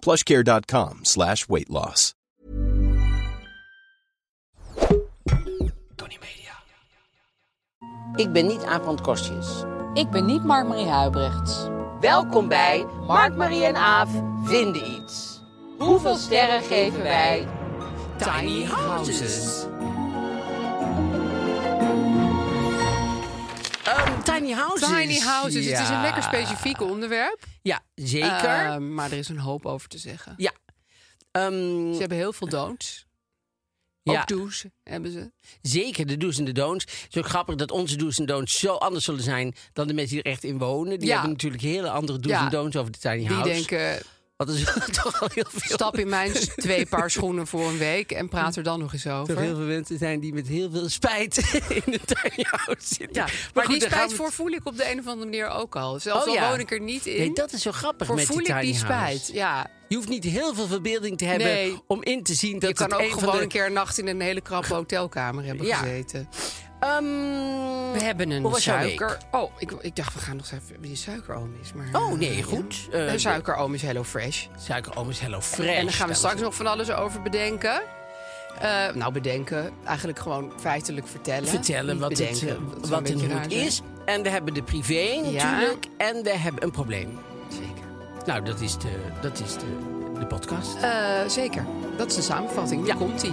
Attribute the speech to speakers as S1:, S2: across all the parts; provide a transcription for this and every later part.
S1: Plushcare.com slash weight loss.
S2: Ik ben niet Aaf van het Kostjes.
S3: Ik ben niet Mark-Marie Huibrechts.
S2: Welkom bij Mark, Marie en Aaf vinden iets. Hoeveel sterren geven wij? Tiny Houses. Ehm, tiny Houses.
S4: Tiny houses. Het is een
S2: Ja.
S4: lekker specifiek onderwerp.
S2: Ja, zeker.
S4: Eh, maar er is een hoop over te zeggen.
S2: ja. Ehm,
S4: Ze hebben heel veel don'ts.
S2: Ja.
S4: Ook do's hebben ze.
S2: Zeker de do's en de don'ts. Het is ook grappig dat onze do's en don'ts zo anders zullen zijn dan de mensen die er echt in wonen. Die
S4: Ja.
S2: hebben natuurlijk hele andere do's
S4: Ja.
S2: en don'ts over de tiny
S4: Die
S2: house.
S4: denken,
S2: Wat is toch al heel veel.
S4: stap in mijn s- twee paar schoenen voor een week en praat er dan nog eens
S2: Toch heel
S4: over.
S2: veel mensen zijn die met heel veel spijt in de tiny house zitten.
S4: Ja,
S2: Maar
S4: maar
S2: goed,
S4: die
S2: daar gaan
S4: spijt
S2: we
S4: voor
S2: het-
S4: voel ik op de een of andere manier ook al. Zelfs
S2: Oh
S4: al
S2: ja.
S4: woon ik er niet in,
S2: Nee, dat is zo grappig
S4: voor
S2: met
S4: voel
S2: die
S4: ik
S2: tiny
S4: die spijt.
S2: house.
S4: Ja.
S2: Je hoeft niet heel veel verbeelding te hebben
S4: Nee.
S2: om in te zien dat
S4: je kan
S2: het
S4: ook
S2: een
S4: gewoon
S2: van de...
S4: een keer een nacht in een hele krappe hotelkamer hebben
S2: Ja.
S4: gezeten.
S2: Ehm,
S4: We hebben een
S2: hoe was jouw week?
S4: suiker. Oh, ik, ik dacht, we gaan nog eens even. Die suikeroom is. Maar,
S2: Oh,
S4: eh,
S2: nee,
S4: ja.
S2: goed. Eh,
S4: De suikeroom is Hello Fresh.
S2: Suikeroom oh, is Hello Fresh.
S4: En daar gaan we
S2: dames en
S4: straks nog van alles over bedenken. Eh, nou, bedenken. Eigenlijk gewoon feitelijk vertellen.
S2: vertellen
S4: Niet
S2: wat, het,
S4: bedenken.
S2: eh,
S4: Dat
S2: wat
S4: zou een
S2: het
S4: beetje
S2: moet
S4: raar zijn.
S2: is. En we hebben de privé natuurlijk. En we hebben een probleem.
S4: Zeker.
S2: Nou, dat is de, dat is de, de podcast.
S4: Eh, zeker. Dat is de samenvatting. Daar komt ie.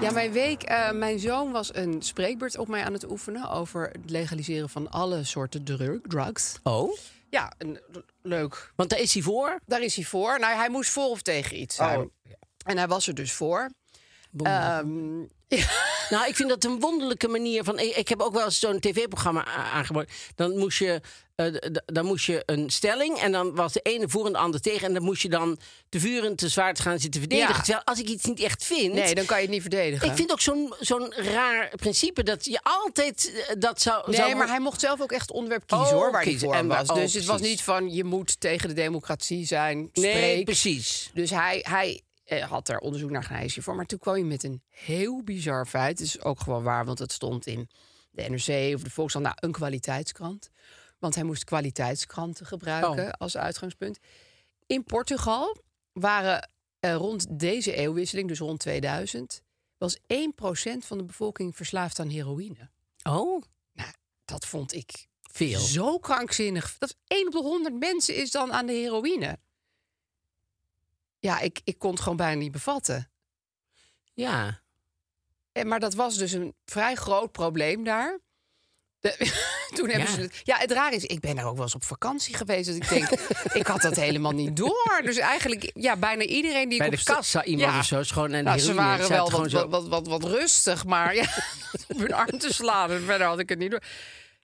S4: Ja, mijn week. eh, mijn zoon was een spreekbeurt op mij aan het oefenen over het legaliseren van alle soorten drug, drugs.
S2: Oh,
S4: Ja, een- leuk.
S2: want daar is hij voor.
S4: Daar is hij voor. Nou, hij moest voor of tegen iets zijn. Oh. En hij was er dus voor. Ehm,
S2: Nou, ik vind dat een wonderlijke manier van. Ik ik heb ook wel eens zo'n tv-programma a- aangeboden. Dan moest je, eh, d- d- dan moest je een stelling en dan was de ene voor en de ander tegen. En dan moest je dan te vuur en te zwaard gaan zitten verdedigen.
S4: Ja.
S2: Terwijl als ik iets niet echt vind.
S4: nee, dan kan je het niet verdedigen.
S2: Ik vind ook zo'n zo'n raar principe dat je altijd eh, dat zou.
S4: Nee,
S2: zou-
S4: maar hij mocht zelf ook echt het onderwerp kiezen
S2: Oh,
S4: hoor, waar hij
S2: kiezen.
S4: voor
S2: En wa-
S4: was.
S2: oh,
S4: dus het was
S2: precies.
S4: niet van je moet tegen de democratie zijn,
S2: Nee,
S4: spreek.
S2: precies.
S4: Dus hij, hij eh, had daar onderzoek naar gedaan, hij is voor. Maar toen kwam hij met een heel bizar feit. Het is ook gewoon waar, want het stond in de NRC of de Volkskrant. Nou, een kwaliteitskrant. Want hij moest kwaliteitskranten gebruiken
S2: Oh.
S4: als uitgangspunt. In Portugal waren eh, rond deze eeuwwisseling, dus rond 2000... was 1% van de bevolking verslaafd aan heroïne.
S2: Oh,
S4: Nou, dat vond ik
S2: veel.
S4: zo krankzinnig. Dat 1 op de 100 mensen is dan aan de heroïne. Ja, ik, ik kon het gewoon bijna niet bevatten.
S2: Ja.
S4: En, maar dat was dus een vrij groot probleem daar. De- toen hebben
S2: Ja.
S4: ze het. Ja, het raar is, ik ben daar ook wel eens op vakantie geweest. Dat ik denk, ik had dat helemaal niet door. Dus eigenlijk, ja, bijna iedereen die
S2: Bij
S4: ik
S2: de dus
S4: op sta-
S2: kassa iemand
S4: Ja.
S2: of zo is gewoon aan de
S4: Nou, ze
S2: heroïne.
S4: waren
S2: Zaten
S4: wel
S2: gewoon
S4: wat,
S2: zo-
S4: wat, wat, wat, rustig, maar ja, op hun arm te slaan. En verder had ik het niet door.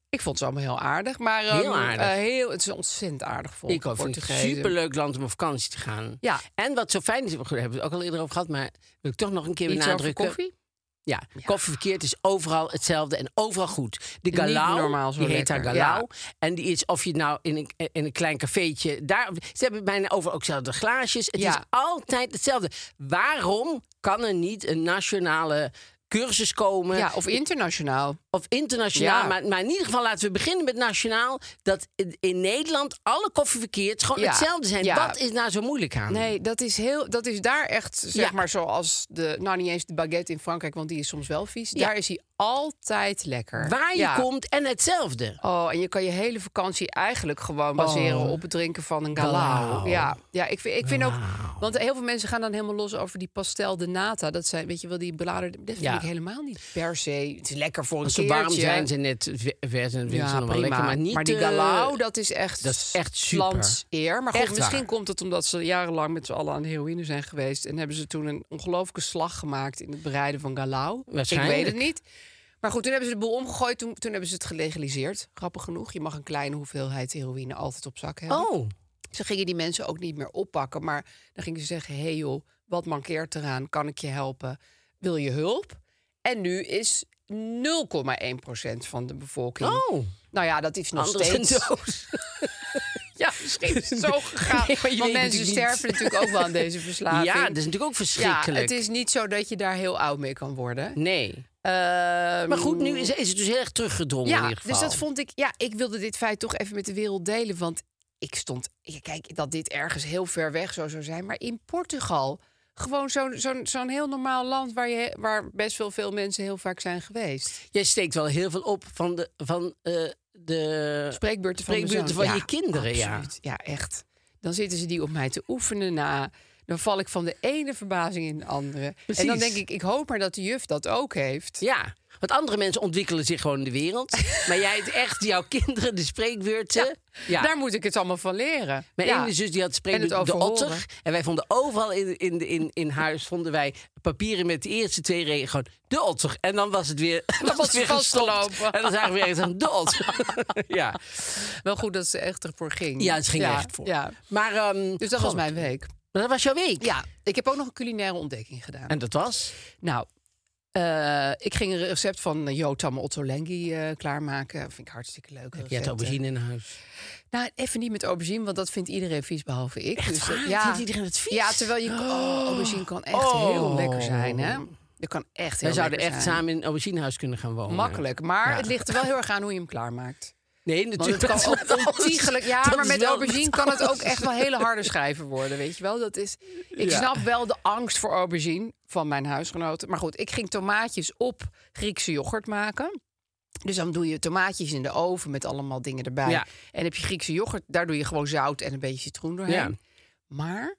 S4: Ik vond ze allemaal heel aardig, maar ehm,
S2: Heel aardig.
S4: eh, heel, het is een ontzettend aardig volk.
S2: Ik ook, vind het een
S4: Portugezen.
S2: superleuk land om op vakantie te gaan.
S4: Ja.
S2: En wat zo fijn is, goed, daar hebben we het ook al eerder over gehad, maar wil ik toch nog een keer
S4: Iets over
S2: benadrukken.
S4: koffie?
S2: Ja, koffie verkeerd is overal hetzelfde en overal goed. De
S4: Niet
S2: Galau,
S4: normaal zo
S2: die heet daar
S4: lekker,
S2: Galau. En die is of je nou in een, in een klein cafeetje... Daar, ze hebben bijna overal ook zelfde glaasjes. Het
S4: Ja.
S2: is altijd hetzelfde. Waarom kan er niet een nationale cursus komen.
S4: Ja, of internationaal.
S2: Of internationaal.
S4: Ja.
S2: Maar, maar in ieder geval laten we beginnen met nationaal. Dat in, in Nederland alle koffieverkeerd gewoon
S4: Ja.
S2: hetzelfde zijn.
S4: Ja.
S2: Wat is nou zo moeilijk aan?
S4: Nee, dat is, heel, dat is daar echt, zeg
S2: Ja.
S4: maar, zoals de... Nou, niet eens de baguette in Frankrijk, want die is soms wel vies. Daar is hij altijd lekker.
S2: Waar je
S4: Ja.
S2: komt en hetzelfde.
S4: Oh, en je kan je hele vakantie eigenlijk gewoon baseren op het drinken van een galao.
S2: Galao.
S4: Ja, ja ik vind, ik vind ook... Want heel veel mensen gaan dan helemaal los over die pastel de nata. Dat zijn, weet je wel, die bladeren... Dat vind
S2: Ja.
S4: ik helemaal niet per se. Het is lekker voor een
S2: Als ze warm
S4: keertje.
S2: zijn, zijn net ver- vers en vinden ze
S4: Ja,
S2: nog wel
S4: prima.
S2: lekker. Maar, niet,
S4: die
S2: eh,
S4: galao, dat is echt,
S2: dat is echt super.
S4: eer. Maar
S2: Echt
S4: goed, misschien
S2: waar.
S4: komt het omdat ze jarenlang met z'n allen aan de heroïne zijn geweest. En hebben ze toen een ongelooflijke slag gemaakt in het bereiden van galao.
S2: Waarschijnlijk.
S4: Ik weet het niet. Maar goed, toen hebben ze de boel omgegooid. Toen, toen hebben ze het gelegaliseerd. Grappig genoeg. Je mag een kleine hoeveelheid heroïne altijd op zak hebben.
S2: Oh,
S4: Ze gingen die mensen ook niet meer oppakken. Maar dan gingen ze zeggen: hé hey joh, wat mankeert eraan? Kan ik je helpen? Wil je hulp? En nu is 0,1% van de bevolking.
S2: oh.
S4: Nou ja, dat is nog
S2: Anders
S4: steeds.
S2: een doos.
S4: Ja, misschien is het zo gegaan.
S2: Nee, maar je
S4: Want
S2: weet
S4: mensen
S2: natuurlijk niet.
S4: sterven natuurlijk ook wel aan deze verslaving.
S2: Ja, dat is natuurlijk ook verschrikkelijk.
S4: Ja, het is niet zo dat je daar heel oud mee kan worden.
S2: Nee.
S4: Ehm,
S2: Maar goed, nu is, is het dus heel erg teruggedrongen in
S4: Ja,
S2: ieder geval.
S4: dus dat vond ik. Ja, ik wilde dit feit toch even met de wereld delen. Want ik stond. ja, Kijk, dat dit ergens heel ver weg zou, zou zijn. Maar in Portugal, gewoon zo'n zo'n zo'n heel normaal land waar, je, waar best wel veel mensen heel vaak zijn geweest.
S2: Jij steekt wel heel veel op van de... Van, eh, de...
S4: Spreekbeurten van, mijn
S2: Spreekbeurten
S4: zoon.
S2: van je kinderen, ja.
S4: absoluut. ja. echt. Dan zitten ze die op mij te oefenen na. Dan val ik van de ene verbazing in de andere. En dan
S2: Precies.
S4: denk ik, ik hoop maar dat de juf dat ook heeft.
S2: Ja, want andere mensen ontwikkelen zich gewoon in de wereld. maar jij het echt, jouw kinderen, de spreekbeurten. Ja.
S4: Daar moet ik het allemaal van leren.
S2: Mijn
S4: ja.
S2: ene zus die had
S4: En
S2: spreekbeurt
S4: het
S2: de otter.
S4: overhoren.
S2: En wij vonden overal in, in, in, in huis vonden wij papieren met de eerste twee regels. Gewoon de otter. En dan was het weer, dan
S4: was
S2: het weer
S4: het
S2: gestopt.
S4: vastgelopen.
S2: En dan zagen we ergens aan de otter. ja.
S4: Wel goed dat ze echt ervoor ging.
S2: ja, het ging er echt voor.
S4: Ja.
S2: Maar, ehm,
S4: Dus dat was
S2: goh,
S4: mijn week.
S2: Dat was jouw week.
S4: Ja, ik heb ook nog een culinaire ontdekking gedaan.
S2: En dat was?
S4: Nou, eh, ik ging een recept van eh, Jotam Ottolenghi eh klaarmaken. vind ik hartstikke leuk.
S2: Heb jij het aubergine in huis?
S4: Nou, even niet met aubergine, want dat vindt iedereen vies behalve ik. dus, eh,
S2: waar?
S4: ja,
S2: Vindt iedereen het vies?
S4: Ja, terwijl je... Oh, aubergine kan echt heel lekker zijn, hè? Dat kan echt heel
S2: Wij Oh. zouden
S4: lekker
S2: echt
S4: zijn.
S2: samen in een auberginehuis kunnen gaan wonen.
S4: Makkelijk, maar
S2: Ja.
S4: het ligt er wel heel erg aan hoe je hem klaarmaakt.
S2: Nee,
S4: Want het
S2: natuurlijk.
S4: kan
S2: dat is
S4: ook
S2: met alles.
S4: ontiegelijk... Ja,
S2: Dat
S4: maar
S2: is
S4: met
S2: wel-
S4: aubergine kan het ook echt wel hele harde schijven worden, weet je wel. Dat is, ik
S2: Ja.
S4: snap wel de angst voor aubergine van mijn huisgenoten. Maar goed, ik ging tomaatjes op Griekse yoghurt maken. Dus dan doe je tomaatjes in de oven met allemaal dingen erbij.
S2: Ja.
S4: En heb je Griekse yoghurt, daar doe je gewoon zout en een beetje citroen doorheen.
S2: Ja.
S4: Maar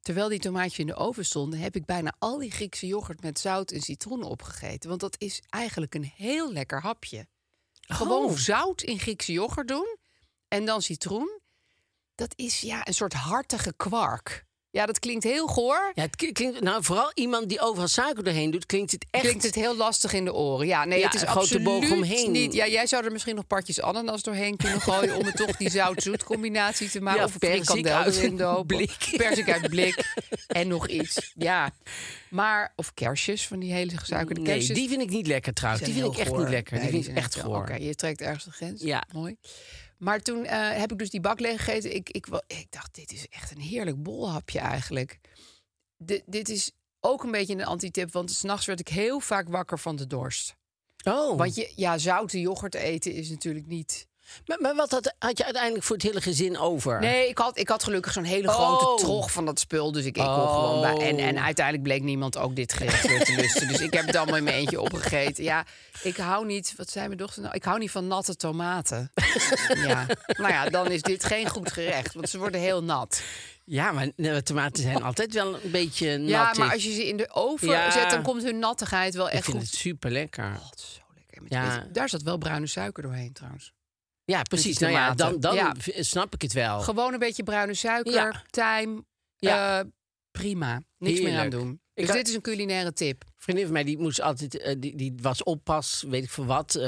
S4: terwijl die tomaatjes in de oven stonden, heb ik bijna al die Griekse yoghurt met zout en citroen opgegeten. Want dat is eigenlijk een heel lekker hapje. Gewoon
S2: Oh.
S4: zout in Griekse yoghurt doen en dan citroen. Dat is ja een soort hartige kwark. Ja, dat klinkt heel goor.
S2: Ja, het klinkt, nou, vooral iemand die overal suiker doorheen doet, klinkt het echt...
S4: Klinkt het heel lastig in de oren. Ja, nee,
S2: Ja,
S4: het is
S2: een grote
S4: absoluut
S2: boog omheen.
S4: niet. Ja, jij zou er misschien nog partjes ananas doorheen kunnen gooien... om het toch die zout-zoet combinatie te maken.
S2: Ja,
S4: of een
S2: perzik
S4: frikandel
S2: uit
S4: erin
S2: een
S4: dopen.
S2: blik.
S4: Persik uit blik. en nog iets. Ja. Maar, of kersjes, van die hele gesuikerde
S2: Nee,
S4: kersjes.
S2: die vind ik niet lekker trouwens.
S4: zijn
S2: Die vind ik
S4: heel
S2: echt
S4: goor.
S2: niet lekker.
S4: Nee,
S2: die vind ik
S4: zijn
S2: echt
S4: heel-
S2: goor.
S4: Oké, je trekt ergens de grens.
S2: Ja.
S4: Mooi. Maar toen eh, heb ik dus die bak leeggegeten. Ik, ik, wa- ik dacht, dit is echt een heerlijk bolhapje eigenlijk. Di- dit is ook een beetje een antitip, want s'nachts werd ik heel vaak wakker van de dorst.
S2: Oh,
S4: Want je, ja, zoute yoghurt eten is natuurlijk niet...
S2: maar, maar wat had, had je uiteindelijk voor het hele gezin over?
S4: Nee, ik had, ik had gelukkig zo'n hele
S2: Oh.
S4: grote trog van dat spul. Dus ik, ik kon gewoon bij. En, en uiteindelijk bleek niemand ook dit gerecht weer te lusten. Dus ik heb het allemaal in mijn eentje opgegeten. Ja, ik hou niet. Wat zei mijn dochter nou? Ik hou niet van natte tomaten. ja. Nou ja, dan is dit geen goed gerecht. Want ze worden heel nat.
S2: Ja, maar eh, tomaten zijn altijd wel een beetje nat.
S4: Ja, maar als je ze in de oven
S2: Ja.
S4: zet, dan komt hun nattigheid wel
S2: Ik
S4: echt
S2: vind
S4: goed.
S2: het super lekker.
S4: God, zo lekker. Met
S2: Ja.
S4: witte- Daar zat wel bruine suiker doorheen trouwens.
S2: Ja, precies.
S4: die
S2: Nou ja, dan,
S4: tomaten.
S2: dan
S4: Ja.
S2: v- snap ik het wel.
S4: Gewoon een beetje bruine suiker,
S2: Ja.
S4: tijm.
S2: Ja.
S4: eh, prima. Niks meer aan
S2: Heerlijk.
S4: doen.
S2: Ik
S4: Dus
S2: had-
S4: dit is een culinaire tip.
S2: Een vriendin van mij die moest altijd, eh, die, die was oppas, weet ik voor wat, eh,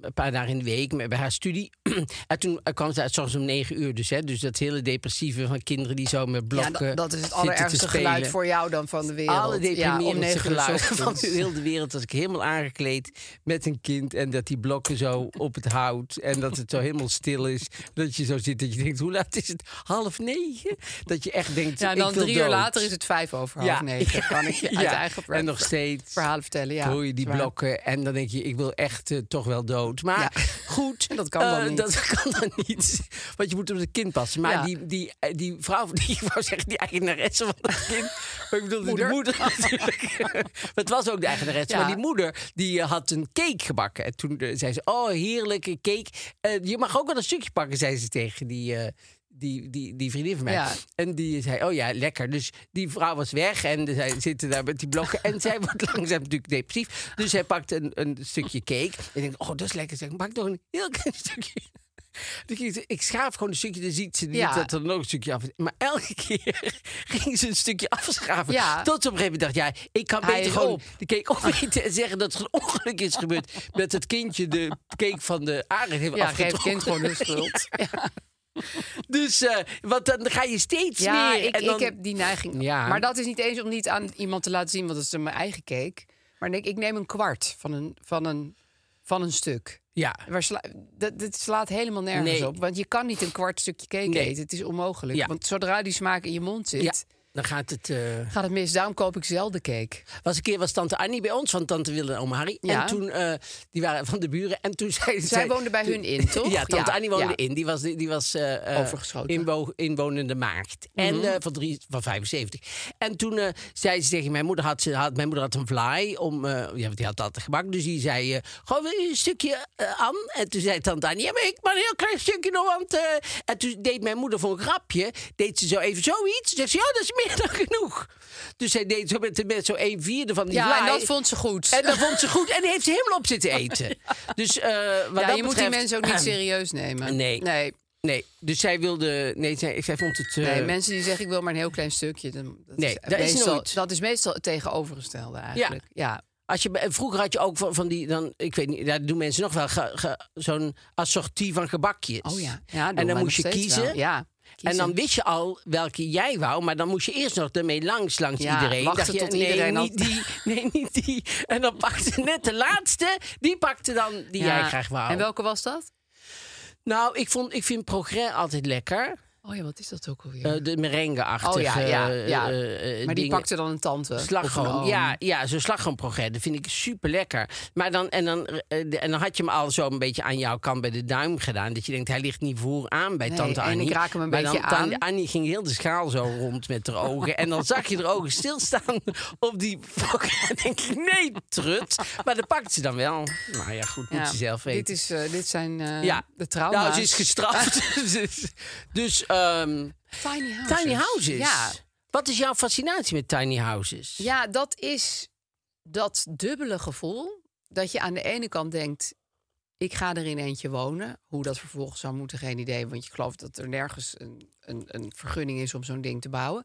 S2: een paar dagen in de week maar bij haar studie. en toen eh, kwam ze uit soms om negen uur, dus, hè, dus dat hele depressieve van kinderen die zo met blokken.
S4: ja, dat, dat is het
S2: zitten te
S4: allerergste
S2: spelen.
S4: geluid voor jou dan van de wereld.
S2: Alle
S4: ja, om
S2: deprimerende
S4: negen uur 's
S2: geluiden van
S4: ochtends.
S2: de heel de wereld. was ik helemaal aangekleed met een kind. En dat die blokken zo op het hout. En dat het zo helemaal stil is. Dat je zo zit dat je denkt, hoe laat is het? Half negen? Dat je echt denkt,
S4: Ja, en dan
S2: ik wil
S4: drie uur
S2: dood.
S4: later is het vijf over half
S2: Ja.
S4: negen. Kan ik je uit
S2: Ja,
S4: eigen
S2: En nog
S4: breakfast.
S2: steeds
S4: verhalen vertellen. Ja,
S2: hoor je die
S4: Zwaar.
S2: blokken en dan denk je, ik wil echt eh, toch wel dood. Maar
S4: Ja.
S2: goed,
S4: Dat kan dan
S2: eh,
S4: niet.
S2: Dat kan dan niet, want je moet op het kind passen. Maar
S4: Ja.
S2: die, die, eh, die vrouw, die, ik wou zeggen, die eigenaresse van het kind. Maar ik bedoel,
S4: Moeder.
S2: de moeder natuurlijk. maar het was ook de eigenaresse.
S4: Ja.
S2: Maar die moeder, die eh, had een cake gebakken. En toen eh, zei ze, oh, heerlijke cake. Eh, je mag ook wel een stukje pakken, zei ze tegen die... eh, die, die, die vriendin van mij.
S4: Ja.
S2: En die zei, oh ja, lekker. Dus die vrouw was weg en zij zitten daar met die blokken. En zij wordt langzaam natuurlijk depressief. Dus zij pakt een, een stukje cake. En denkt, oh, dat is lekker. Zeg, pak nog een heel klein stukje. Dus ik- Ik schaaf gewoon een stukje, dan ziet ze niet
S4: Ja.
S2: dat er nog een stukje af is. Maar elke keer ging ze een stukje afschaven.
S4: Ja.
S2: Tot ze op een gegeven moment dacht, ja, ik kan
S4: Hij
S2: beter
S4: is
S2: gewoon
S4: op.
S2: de cake opeten en zeggen dat er een ongeluk is gebeurd. Met het kindje de cake van de aardig heeft
S4: Ja, geef het
S2: afgetrokken.
S4: kind gewoon de schuld. Ja,
S2: Dus, eh, want dan ga je steeds
S4: Ja,
S2: meer.
S4: ik,
S2: en dan-
S4: ik heb die neiging.
S2: Ja.
S4: Maar dat is niet eens om niet aan iemand te laten zien, want dat is dan mijn eigen cake. Maar ik, ik neem een kwart van een, van een, van een stuk.
S2: Ja.
S4: Waar sla- dat, dit slaat helemaal nergens
S2: Nee.
S4: op. Want je kan niet een kwart stukje cake
S2: Nee.
S4: eten. Het is onmogelijk.
S2: Ja.
S4: Want zodra die smaak in je mond zit,
S2: ja, dan gaat het... eh,
S4: gaat het mis. Daarom koop ik zelden cake.
S2: was een keer was tante Annie bij ons van tante Wille en oom Harry.
S4: Ja.
S2: En toen, eh, die waren van de buren. En toen zeiden
S4: Zij woonden bij hun in, toch?
S2: Ja, tante
S4: Ja,
S2: Annie woonde
S4: ja.
S2: in. Die was, die was eh, eh,
S4: Overgeschoten.
S2: inwo- inwonende maagd. En
S4: Mhm.
S2: eh, van, drie, van 75. En toen eh, zei ze tegen mijn moeder, had ze, had, mijn moeder had een vlaai. Om, eh, ja, want die had altijd gebak. Dus die zei, eh, gewoon wil je een stukje eh, aan. En toen zei tante Annie, ja, maar ik maar een heel klein stukje nog. Want, eh," En toen deed mijn moeder voor een grapje, deed ze zo even zoiets. Ze zei, ja, dat is meer dan genoeg. Dus zij deed zo met, de- met zo een vierde van die
S4: Ja,
S2: vlaai.
S4: en dat vond ze goed.
S2: En dat vond ze goed. En die heeft ze helemaal op zitten eten. Dus eh, wat
S4: ja,
S2: dat
S4: je moet
S2: betreft-
S4: die mensen ook niet serieus nemen.
S2: Nee.
S4: Nee.
S2: Nee, dus zij wilde. Nee, zij, zij vond het. eh,
S4: Nee, mensen die zeggen ik wil maar een heel klein stukje. dan- Dat
S2: Nee, dat is
S4: meestal,
S2: nooit.
S4: Dat is meestal het tegenovergestelde eigenlijk. Ja.
S2: als je, bij- vroeger had je ook van, van die. Dan, ik weet niet, daar doen mensen nog wel ge- ge- zo'n assortie van gebakjes.
S4: Oh ja. ja doen
S2: en
S4: wij
S2: dan
S4: nog
S2: moest je
S4: steeds
S2: kiezen.
S4: wel. Ja.
S2: En dan
S4: kiezen.
S2: wist je al welke jij wou, maar dan moest je eerst nog ermee langs, langs
S4: Ja,
S2: iedereen.
S4: wachten
S2: Dacht je,
S4: tot
S2: nee,
S4: iedereen had-
S2: niet die, nee, niet die. En dan pakte net de laatste, die pakte dan die
S4: Ja.
S2: jij graag wou.
S4: En welke was dat?
S2: Nou, ik, vond, ik vind progrès altijd lekker.
S4: Oh ja, wat is dat ook alweer?
S2: Eh, de merengue-achtige
S4: oh ja, ja,
S2: eh,
S4: ja.
S2: eh, eh,
S4: maar die
S2: dingen.
S4: pakte dan een tante. of een
S2: Slagroom,
S4: oom.
S2: ja, ja zo'n slagroomprogret. Dat vind ik super lekker. Maar dan, en, dan, eh, de- en dan had je hem al zo een beetje aan jouw kant bij de duim gedaan. Dat je denkt, hij ligt niet voor aan bij
S4: Nee,
S2: tante
S4: en ik
S2: Annie.
S4: raak hem een
S2: maar
S4: beetje
S2: dan, tante
S4: aan.
S2: Annie ging heel de schaal zo rond met haar ogen. En dan zag je haar ogen stilstaan op die pokken. En denk ik, nee, trut. Maar dat pakt ze dan wel. Nou ja, goed, moet
S4: Ja.
S2: ze zelf weten.
S4: Dit, is, eh, dit zijn eh,
S2: ja.
S4: de trauma's.
S2: Nou, ze is gestraft. Dus- dus ehm,
S4: Tiny houses.
S2: tiny houses.
S4: Nou, Ja.
S2: Wat is jouw fascinatie met tiny houses?
S4: Ja, dat is dat dubbele gevoel. Dat je aan de ene kant denkt, ik ga er in eentje wonen. Hoe dat vervolgens zou moeten, geen idee. Want je gelooft dat er nergens een, een, een vergunning is om zo'n ding te bouwen.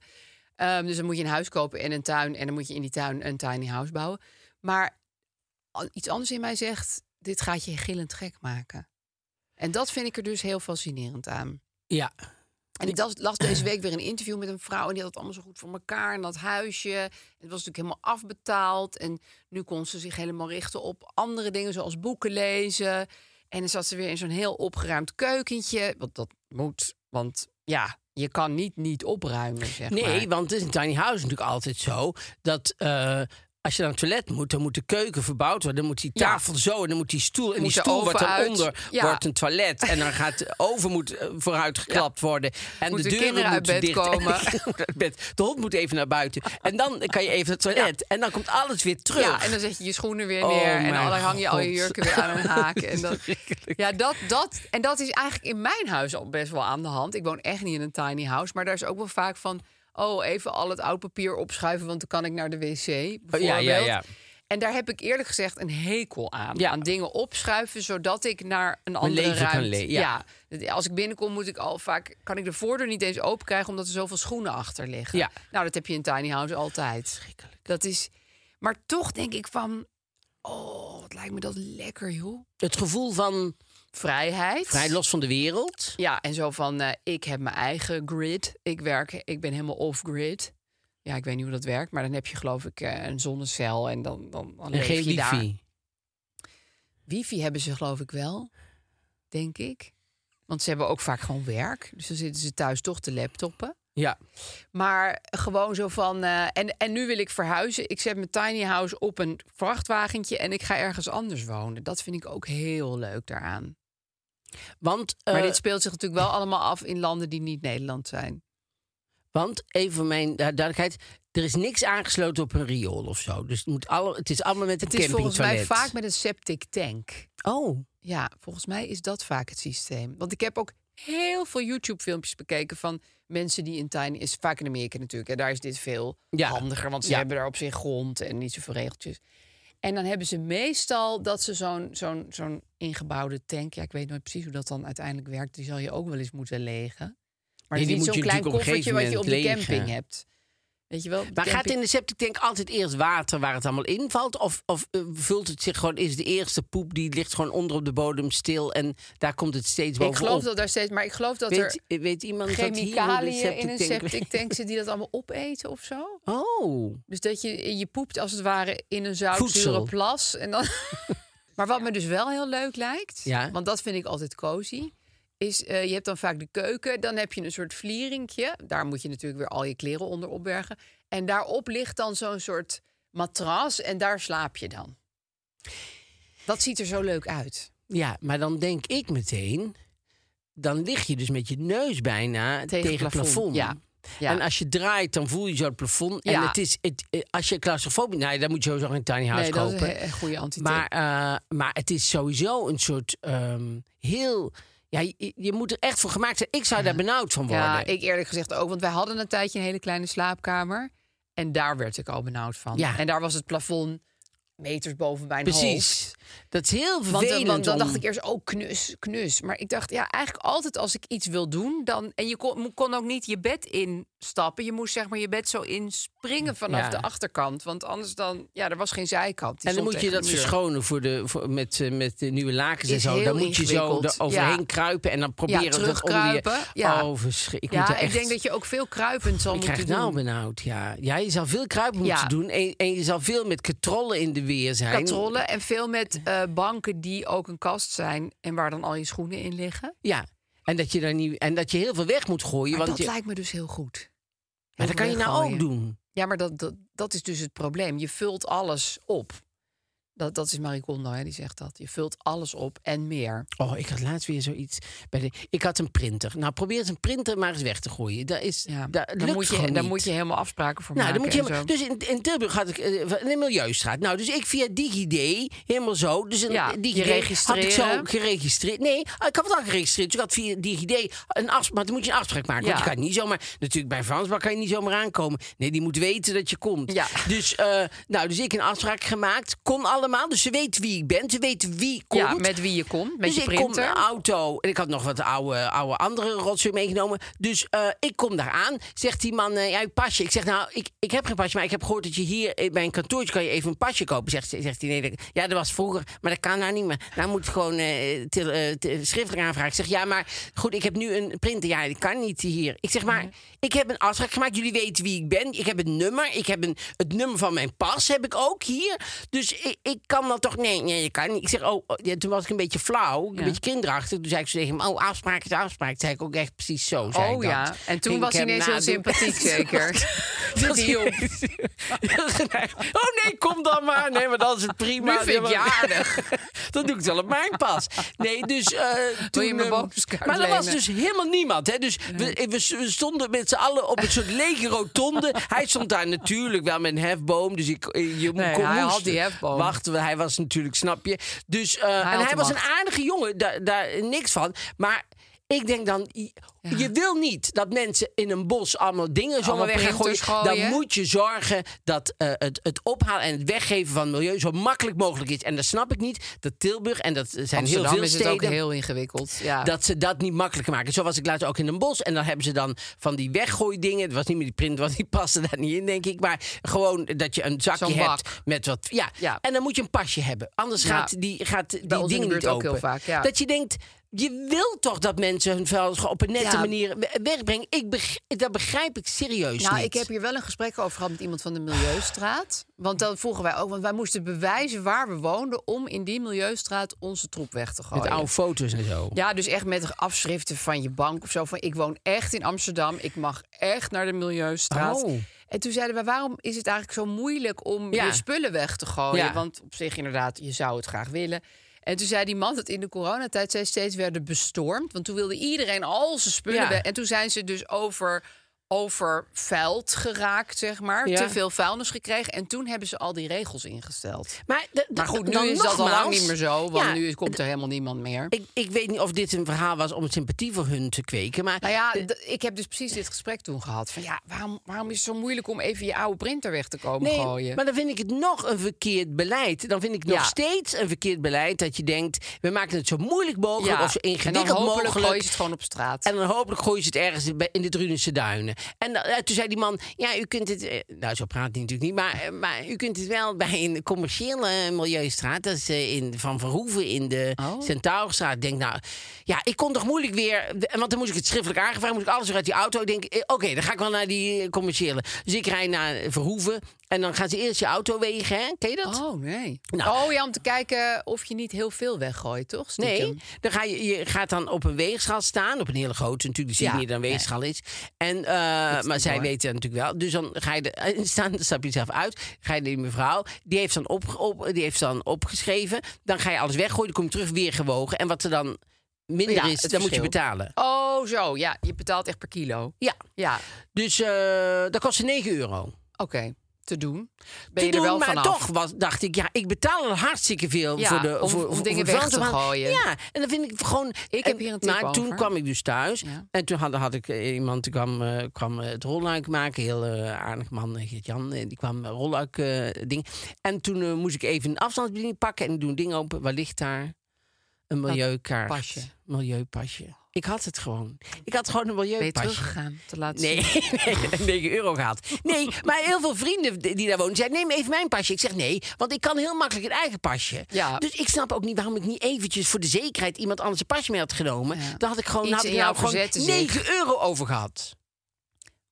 S4: Ehm, dus dan moet je een huis kopen en een tuin. En dan moet je in die tuin een tiny house bouwen. Maar al- iets anders in mij zegt, dit gaat je gillend gek maken. En dat vind ik er dus heel fascinerend aan.
S2: Ja.
S4: En ik las, las deze week weer een interview met een vrouw. En die had het allemaal zo goed voor elkaar. En dat huisje. En het was natuurlijk helemaal afbetaald. En nu kon ze zich helemaal richten op andere dingen. Zoals boeken lezen. En dan zat ze weer in zo'n heel opgeruimd keukentje. Want dat moet. Want ja, je kan niet niet opruimen, zeg maar.
S2: Nee, want het is een tiny house natuurlijk altijd zo dat. eh, als je naar het toilet moet, dan moet de keuken verbouwd worden. Dan moet die
S4: Ja.
S2: tafel zo en dan moet die stoel. En
S4: Moet
S2: die
S4: de
S2: stoel wordt
S4: oven
S2: dan
S4: uit.
S2: onder,
S4: Ja.
S2: wordt een toilet. En dan gaat de oven moet eh, vooruit geklapt worden. En
S4: Moeten
S2: de deuren
S4: kinderen uit
S2: moeten
S4: bed
S2: dicht. En
S4: komen.
S2: de kinderen moeten uit bed. De hond moet even naar buiten. En dan kan je even naar het toilet. En dan komt alles weer terug.
S4: Ja, en dan zet je je schoenen weer
S2: Oh
S4: neer. en
S2: mijn
S4: dan hang je al je
S2: God.
S4: jurken weer aan een haak. En dat,
S2: Verschrikkelijk.
S4: ja, dat, dat, en dat is eigenlijk in mijn huis al best wel aan de hand. Ik woon echt niet in een tiny house. Maar daar is ook wel vaak van... oh, even al het oud papier opschuiven... want dan kan ik naar de wc, bijvoorbeeld.
S2: Oh, ja, ja.
S4: En daar heb ik eerlijk gezegd een hekel aan.
S2: Ja.
S4: Aan dingen opschuiven, zodat ik naar een andere
S2: leven kan
S4: ruimte...
S2: le- ja.
S4: ja, Ah, als ik binnenkom moet ik al vaak... kan ik de voordeur niet eens open krijgen... omdat er zoveel schoenen achter liggen.
S2: Ja.
S4: Nou, dat heb je in tiny house altijd. Dat is... Maar toch denk ik van... Oh, wat lijkt me dat lekker, joh.
S2: Het gevoel van
S4: Vrijheid.
S2: vrij los van de wereld.
S4: Ja, en zo van, eh, ik heb mijn eigen grid. Ik werk, ik ben helemaal off-grid. Ja, ik weet niet hoe dat werkt, maar dan heb je geloof ik eh, een zonnecel en dan, dan, dan
S2: En
S4: leef
S2: geen
S4: je daar.
S2: wifi.
S4: Wifi hebben ze geloof ik wel, denk ik. Want ze hebben ook vaak gewoon werk. Dus dan zitten ze thuis toch te laptoppen.
S2: Ja.
S4: Maar gewoon zo van. eh, en, en nu wil ik verhuizen. Ik zet mijn tiny house op een vrachtwagentje en ik ga ergens anders wonen. Dat vind ik ook heel leuk daaraan.
S2: Want,
S4: Maar
S2: eh,
S4: dit speelt zich natuurlijk wel allemaal af in landen die niet Nederland zijn.
S2: want even voor mijn du- duidelijkheid. Er is niks aangesloten op een riool of zo. Dus het, moet alle, het is allemaal met een
S4: Het is volgens
S2: campingtoilet.
S4: mij vaak met een septic tank.
S2: Oh,
S4: Ja, volgens mij is dat vaak het systeem. Want ik heb ook heel veel YouTube-filmpjes bekeken van mensen die in tiny... is vaak in Amerika natuurlijk. En daar is dit veel
S2: Ja.
S4: handiger, want ze
S2: Ja.
S4: hebben daar op zich grond en niet zoveel regeltjes. En dan hebben ze meestal dat ze zo'n zo'n zo'n ingebouwde tank... Ja, ik weet nooit precies hoe dat dan uiteindelijk werkt. Die zal je ook wel eens moeten legen. Maar
S2: die
S4: het is
S2: moet
S4: niet zo'n
S2: je
S4: klein
S2: natuurlijk op een
S4: koffertje
S2: gegeven
S4: wat je op de
S2: moment
S4: camping
S2: legen.
S4: hebt. Weet je wel? op de
S2: Maar gaat
S4: camping-
S2: in de septic tank altijd eerst water waar het allemaal invalt? Of, of eh, vult het zich gewoon, is de eerste poep die ligt gewoon onder op de bodem stil en daar komt het steeds
S4: Ik
S2: bovenop?
S4: geloof dat daar steeds... Maar ik geloof dat er
S2: weet, eh, weet iemand dat hier
S4: chemicaliën
S2: hoe de
S4: in een
S2: septic tank
S4: septic
S2: werkt?
S4: tank zitten die dat allemaal opeten of zo?
S2: Oh,
S4: Dus dat je, je poept als het ware in een
S2: Voedsel.
S4: zoutzure plas. En dan... maar wat me dus wel heel leuk lijkt,
S2: Ja.
S4: want dat vind ik altijd cozy... Is, eh, je hebt dan vaak de keuken, dan heb je een soort vlierinkje. Daar moet je natuurlijk weer al je kleren onder opbergen. En daarop ligt dan zo'n soort matras en daar slaap je dan. Dat ziet er zo leuk uit.
S2: ja, maar dan denk ik meteen, dan lig je dus met je neus bijna tegen,
S4: het
S2: het plafond.
S4: Ja. ja.
S2: En als je draait, dan voel je zo het plafond. En
S4: Ja.
S2: het is, het, eh, als je claustrofobisch... Nou, ja, dan moet je sowieso geen tiny house
S4: nee, dat
S2: kopen.
S4: is een he- een goede antitip.
S2: Maar, eh, maar het is sowieso een soort ehm, heel. Ja, je, je moet er echt voor gemaakt zijn. Ik zou daar benauwd van worden.
S4: Ja, ik eerlijk gezegd ook. Want wij hadden een tijdje een hele kleine slaapkamer. En daar werd ik al benauwd van.
S2: Ja.
S4: En daar was het plafond meters boven mijn hoofd.
S2: Precies. Dat is heel
S4: Want,
S2: vervelend.
S4: dan- want dan
S2: om-
S4: dacht ik eerst, oh, knus, knus. Maar ik dacht, ja, eigenlijk altijd als ik iets wil doen... Dan, en je kon, kon ook niet je bed instappen. Je moest zeg maar je bed zo inspringen vanaf
S2: Ja.
S4: de achterkant. Want anders dan, ja, er was geen zijkant. Die
S2: En dan
S4: stond
S2: moet je
S4: tegen
S2: dat
S4: de muur.
S2: verschonen voor de, voor, met, eh, met de nieuwe lakens en
S4: Is
S2: zo.
S4: heel
S2: Dan moet je zo
S4: ingewikkeld.
S2: er overheen
S4: Ja.
S2: kruipen en dan proberen dat onder je-
S4: terugkruipen. Ja.
S2: Oh, verschrik. Ik, moet
S4: Ja,
S2: er echt...
S4: ik denk dat je ook veel kruipend zal
S2: Ik
S4: moeten
S2: krijg
S4: doen.
S2: nou benauwd, ja. Ja, je zal veel kruipen
S4: Ja.
S2: moeten doen. En, en je zal veel met katrollen in de weer zijn.
S4: katrollen en veel met eh, banken die ook een kast zijn en waar dan al je schoenen in liggen.
S2: Ja. En dat, je daar niet, en dat je heel veel weg moet gooien.
S4: Maar
S2: want
S4: dat
S2: je,
S4: lijkt me dus heel goed. Heel
S2: maar dat
S4: veel
S2: kan je nou ook
S4: weggooien.
S2: doen.
S4: Ja, maar dat, dat, dat is dus het probleem. Je vult alles op. Dat, dat is Marie Kondo, hè, die zegt dat. Je vult alles op en meer.
S2: Oh, ik had laatst weer zoiets. Bij de, ik had een printer. Nou, probeer eens een printer maar eens weg te gooien. Dat is,
S4: Ja,
S2: dat
S4: dan
S2: lukt
S4: moet je,
S2: gewoon
S4: dan
S2: niet.
S4: moet je helemaal afspraken voor
S2: nou, dan
S4: maken.
S2: moet je
S4: en
S2: helemaal,
S4: zo.
S2: dus in, in Tilburg had ik eh, in de Milieustraat. Nou, dus ik via DigiD, helemaal zo. Dus een
S4: Ja,
S2: eh,
S4: je
S2: DigiD had ik zo
S4: registreren.
S2: geregistreerd. Nee, ik had het al geregistreerd. Dus ik had via DigiD een afspraak. Maar dan moet je een afspraak maken. Want
S4: Ja.
S2: je kan niet zomaar... Natuurlijk, bij Fransbak kan je niet zomaar aankomen. Nee, die moet weten dat je komt.
S4: Ja.
S2: Dus, eh, nou, dus ik een afspraak gemaakt. Kon allemaal. Dus ze weet wie ik ben. Ze weten wie komt.
S4: Ja, met wie je komt, met
S2: dus
S4: je
S2: ik kom
S4: printer.
S2: naar auto. En ik had nog wat oude, oude andere rotzooi meegenomen. Dus eh, ik kom daar aan. Zegt die man, eh, ja, uw pasje. Ik zeg, nou, ik, ik heb geen pasje. Maar ik heb gehoord dat je hier eh, bij een kantoortje kan je even een pasje kopen. Zegt, zegt hij, nee, dat, ja, dat was vroeger. Maar dat kan nou niet meer. Nou moet gewoon eh, til- eh, te- schriftelijk aanvragen. Ik zeg, ja, maar goed, ik heb nu een printer. Ja, dat kan niet hier. Ik zeg, maar ik heb een afspraak gemaakt. Jullie weten wie ik ben. Ik heb een nummer. Ik heb een, het nummer van mijn pas heb ik ook hier. Dus ik, ik kan dat toch... Nee, nee, je kan niet. Ik zeg, oh, oh, ja, toen was ik een beetje flauw. Een
S4: Ja.
S2: beetje kinderachtig. Toen zei ik zo tegen hem, oh, afspraak is afspraak. Toen zei ik ook echt precies zo, zei ik
S4: Oh
S2: dat.
S4: ja, en toen
S2: Ging
S4: was
S2: ik
S4: hij
S2: hem
S4: ineens heel
S2: nadoen.
S4: sympathiek zeker.
S2: Toen
S4: Dat hielp.
S2: was hij ineens heel geneigd. oh nee, kom dan maar. Nee, maar dat is het prima.
S4: Nu vind ik je aardig.
S2: Dan doe ik het wel op mijn pas. Nee, dus eh, toen...
S4: je mijn
S2: ehm,
S4: bonuskaart
S2: Maar er was
S4: lenen?
S2: dus helemaal niemand. Hè? Dus we, eh, we, we stonden met z'n allen op een soort lege rotonde. Hij stond daar natuurlijk wel met een hefboom. Dus ik, eh, je
S4: Nee,
S2: kon
S4: hij had
S2: moest
S4: die hefboom.
S2: Wachten, want hij was natuurlijk, snap je. Dus, eh,
S4: had
S2: en hij
S4: de
S2: was een
S4: macht.
S2: aardige jongen, daar, daar niks van. Maar... Ik denk dan, i- je wil niet dat mensen in een bos allemaal dingen zomaar weg gaan gooien.
S4: printers
S2: Dan
S4: gooien.
S2: moet je zorgen dat eh, het, het ophalen en het weggeven van milieu zo makkelijk mogelijk is. En dat snap ik niet, dat Tilburg, en dat zijn
S4: Amsterdam
S2: heel veel
S4: is het
S2: steden,
S4: ook heel ingewikkeld. Ja.
S2: dat ze dat niet makkelijker maken. Zo was ik laatst ook in een bos. En dan hebben ze dan van die weggooidingen. Het was niet meer die print, want die paste daar niet in, denk ik. Maar gewoon dat je een zakje
S4: Zo'n bak.
S2: hebt met wat... Ja.
S4: Ja.
S2: en dan moet je een pasje hebben. Anders
S4: Ja.
S2: gaat die, gaat die
S4: ons in de
S2: ding
S4: buurt
S2: niet
S4: ook
S2: open.
S4: heel vaak, ja.
S2: Dat je denkt... je wil toch dat mensen hun vuil op een nette
S4: Ja.
S2: manier we- wegbrengen? Ik beg- dat begrijp ik serieus
S4: Nou,
S2: niet.
S4: ik heb hier wel een gesprek over gehad met iemand van de Milieustraat. Want dat vroegen wij ook, want wij moesten bewijzen waar we woonden om in die Milieustraat onze troep weg te gooien.
S2: Met oude foto's en zo.
S4: Oh, Ja, dus echt met afschriften van je bank of zo. Van ik woon echt in Amsterdam. Ik mag echt naar de Milieustraat.
S2: Oh.
S4: En toen zeiden we, waarom is het eigenlijk zo moeilijk om
S2: Ja.
S4: je spullen weg te gooien?
S2: Ja.
S4: Want op zich inderdaad, je zou het graag willen. En toen zei die man dat in de coronatijd zij steeds werden bestormd. Want toen wilde iedereen al zijn spullen
S2: Ja.
S4: weg. En toen zijn ze dus over overvuild geraakt, zeg maar.
S2: Ja.
S4: Te veel vuilnis gekregen. En toen hebben ze al die regels ingesteld.
S2: Maar, d- d-
S4: Maar goed, nu
S2: dan
S4: is dat al lang
S2: nogmaals-
S4: niet meer zo. Want
S2: Ja,
S4: nu komt er helemaal niemand meer.
S2: Ik, ik weet niet of dit een verhaal was om sympathie voor hun te kweken. Maar
S4: Nou ja, d- ik heb dus precies dit gesprek toen gehad. Van ja, waarom, waarom is het zo moeilijk om even je oude printer weg te komen
S2: Nee,
S4: gooien?
S2: maar dan vind ik het nog een verkeerd beleid. Dan vind ik nog
S4: Ja.
S2: steeds een verkeerd beleid dat je denkt... we maken het zo moeilijk mogelijk
S4: ja.
S2: of zo
S4: en dan
S2: ingewikkeld
S4: hopelijk
S2: mogelijk.
S4: gooi je het gewoon op straat.
S2: En dan hopelijk gooien ze het ergens bij- in de Drunense duinen. En dan- eh, toen zei die man, ja, u kunt het... eh, Nou, zo praat hij natuurlijk niet, maar, eh, maar u kunt het wel bij een commerciële milieustraat. Dat is eh, in Van Verhoeven in de
S4: Oh.
S2: Centaurstraat. Ik denk, nou, ja, ik kon toch moeilijk weer... en Want dan moest ik het schriftelijk aangevraagd, moest ik alles weer uit die auto. Ik denk, eh, oké, dan ga ik wel naar die eh, commerciële. Dus ik rijd naar Verhoeven en dan gaan ze eerst je auto wegen, hè? Ken je dat?
S4: Oh nee.
S2: Nou.
S4: Oh ja, om te kijken of je niet heel veel weggooit, toch? Stiekem.
S2: Nee, dan ga je, je gaat dan op een weegschaal staan. Op een hele grote natuurlijk. Die zie je
S4: Ja,
S2: niet dat een
S4: nee.
S2: weegschaal is. En, eh, maar
S4: niet
S2: zij
S4: mooi.
S2: weten dat natuurlijk wel. Dus dan ga je de, en staan, dan stap je zelf uit. Ga je naar die mevrouw. Die heeft, dan op, op- die heeft dan opgeschreven. Dan ga je alles weggooien. Dan kom je terug weer gewogen. En wat er dan minder
S4: Ja,
S2: is, dan moet
S4: het
S2: je
S4: verschil.
S2: betalen.
S4: Oh zo, ja, je betaalt echt per kilo.
S2: Ja,
S4: Ja,
S2: dus eh, dat kostte 9 euro.
S4: oké, te doen. Ben
S2: te
S4: je
S2: doen,
S4: er wel
S2: maar
S4: vanaf?
S2: toch was, dacht ik, ja, ik betaal er hartstikke veel
S4: Ja,
S2: voor de
S4: om-
S2: voor,
S4: om
S2: voor-
S4: dingen
S2: voor
S4: weg te
S2: vuilnisman.
S4: gooien.
S2: Ja, en dan vind ik gewoon.
S4: Ik heb hier een tip
S2: Maar toen
S4: over.
S2: kwam ik dus thuis
S4: Ja.
S2: en toen had, had ik eh, iemand die kwam, eh, kwam eh, het rolluik maken, heel eh, aardig man eh, Geert-Jan, eh, die kwam eh, rolluik eh, ding. En toen eh, moest ik even een afstandsbediening pakken en ik doe een ding open. Waar ligt daar een milieukaart?
S4: pasje.
S2: Milieupasje. Ik had het gewoon. Ik had gewoon een
S4: Ben je
S2: milieupasje.
S4: teruggegaan te laten
S2: Nee,
S4: zien?
S2: nee, 9 euro gaat. Nee, maar heel veel vrienden die die daar wonen zeiden: neem even mijn pasje. Ik zeg nee, want ik kan heel makkelijk een eigen pasje.
S4: Ja.
S2: Dus ik snap ook niet waarom ik niet eventjes voor de zekerheid iemand anders een pasje mee had genomen.
S4: Ja.
S2: Dan had ik gewoon,
S4: Iets
S2: had ik
S4: in
S2: nou
S4: jou
S2: gewoon
S4: gezet, zeg.
S2: 9 euro over gehad.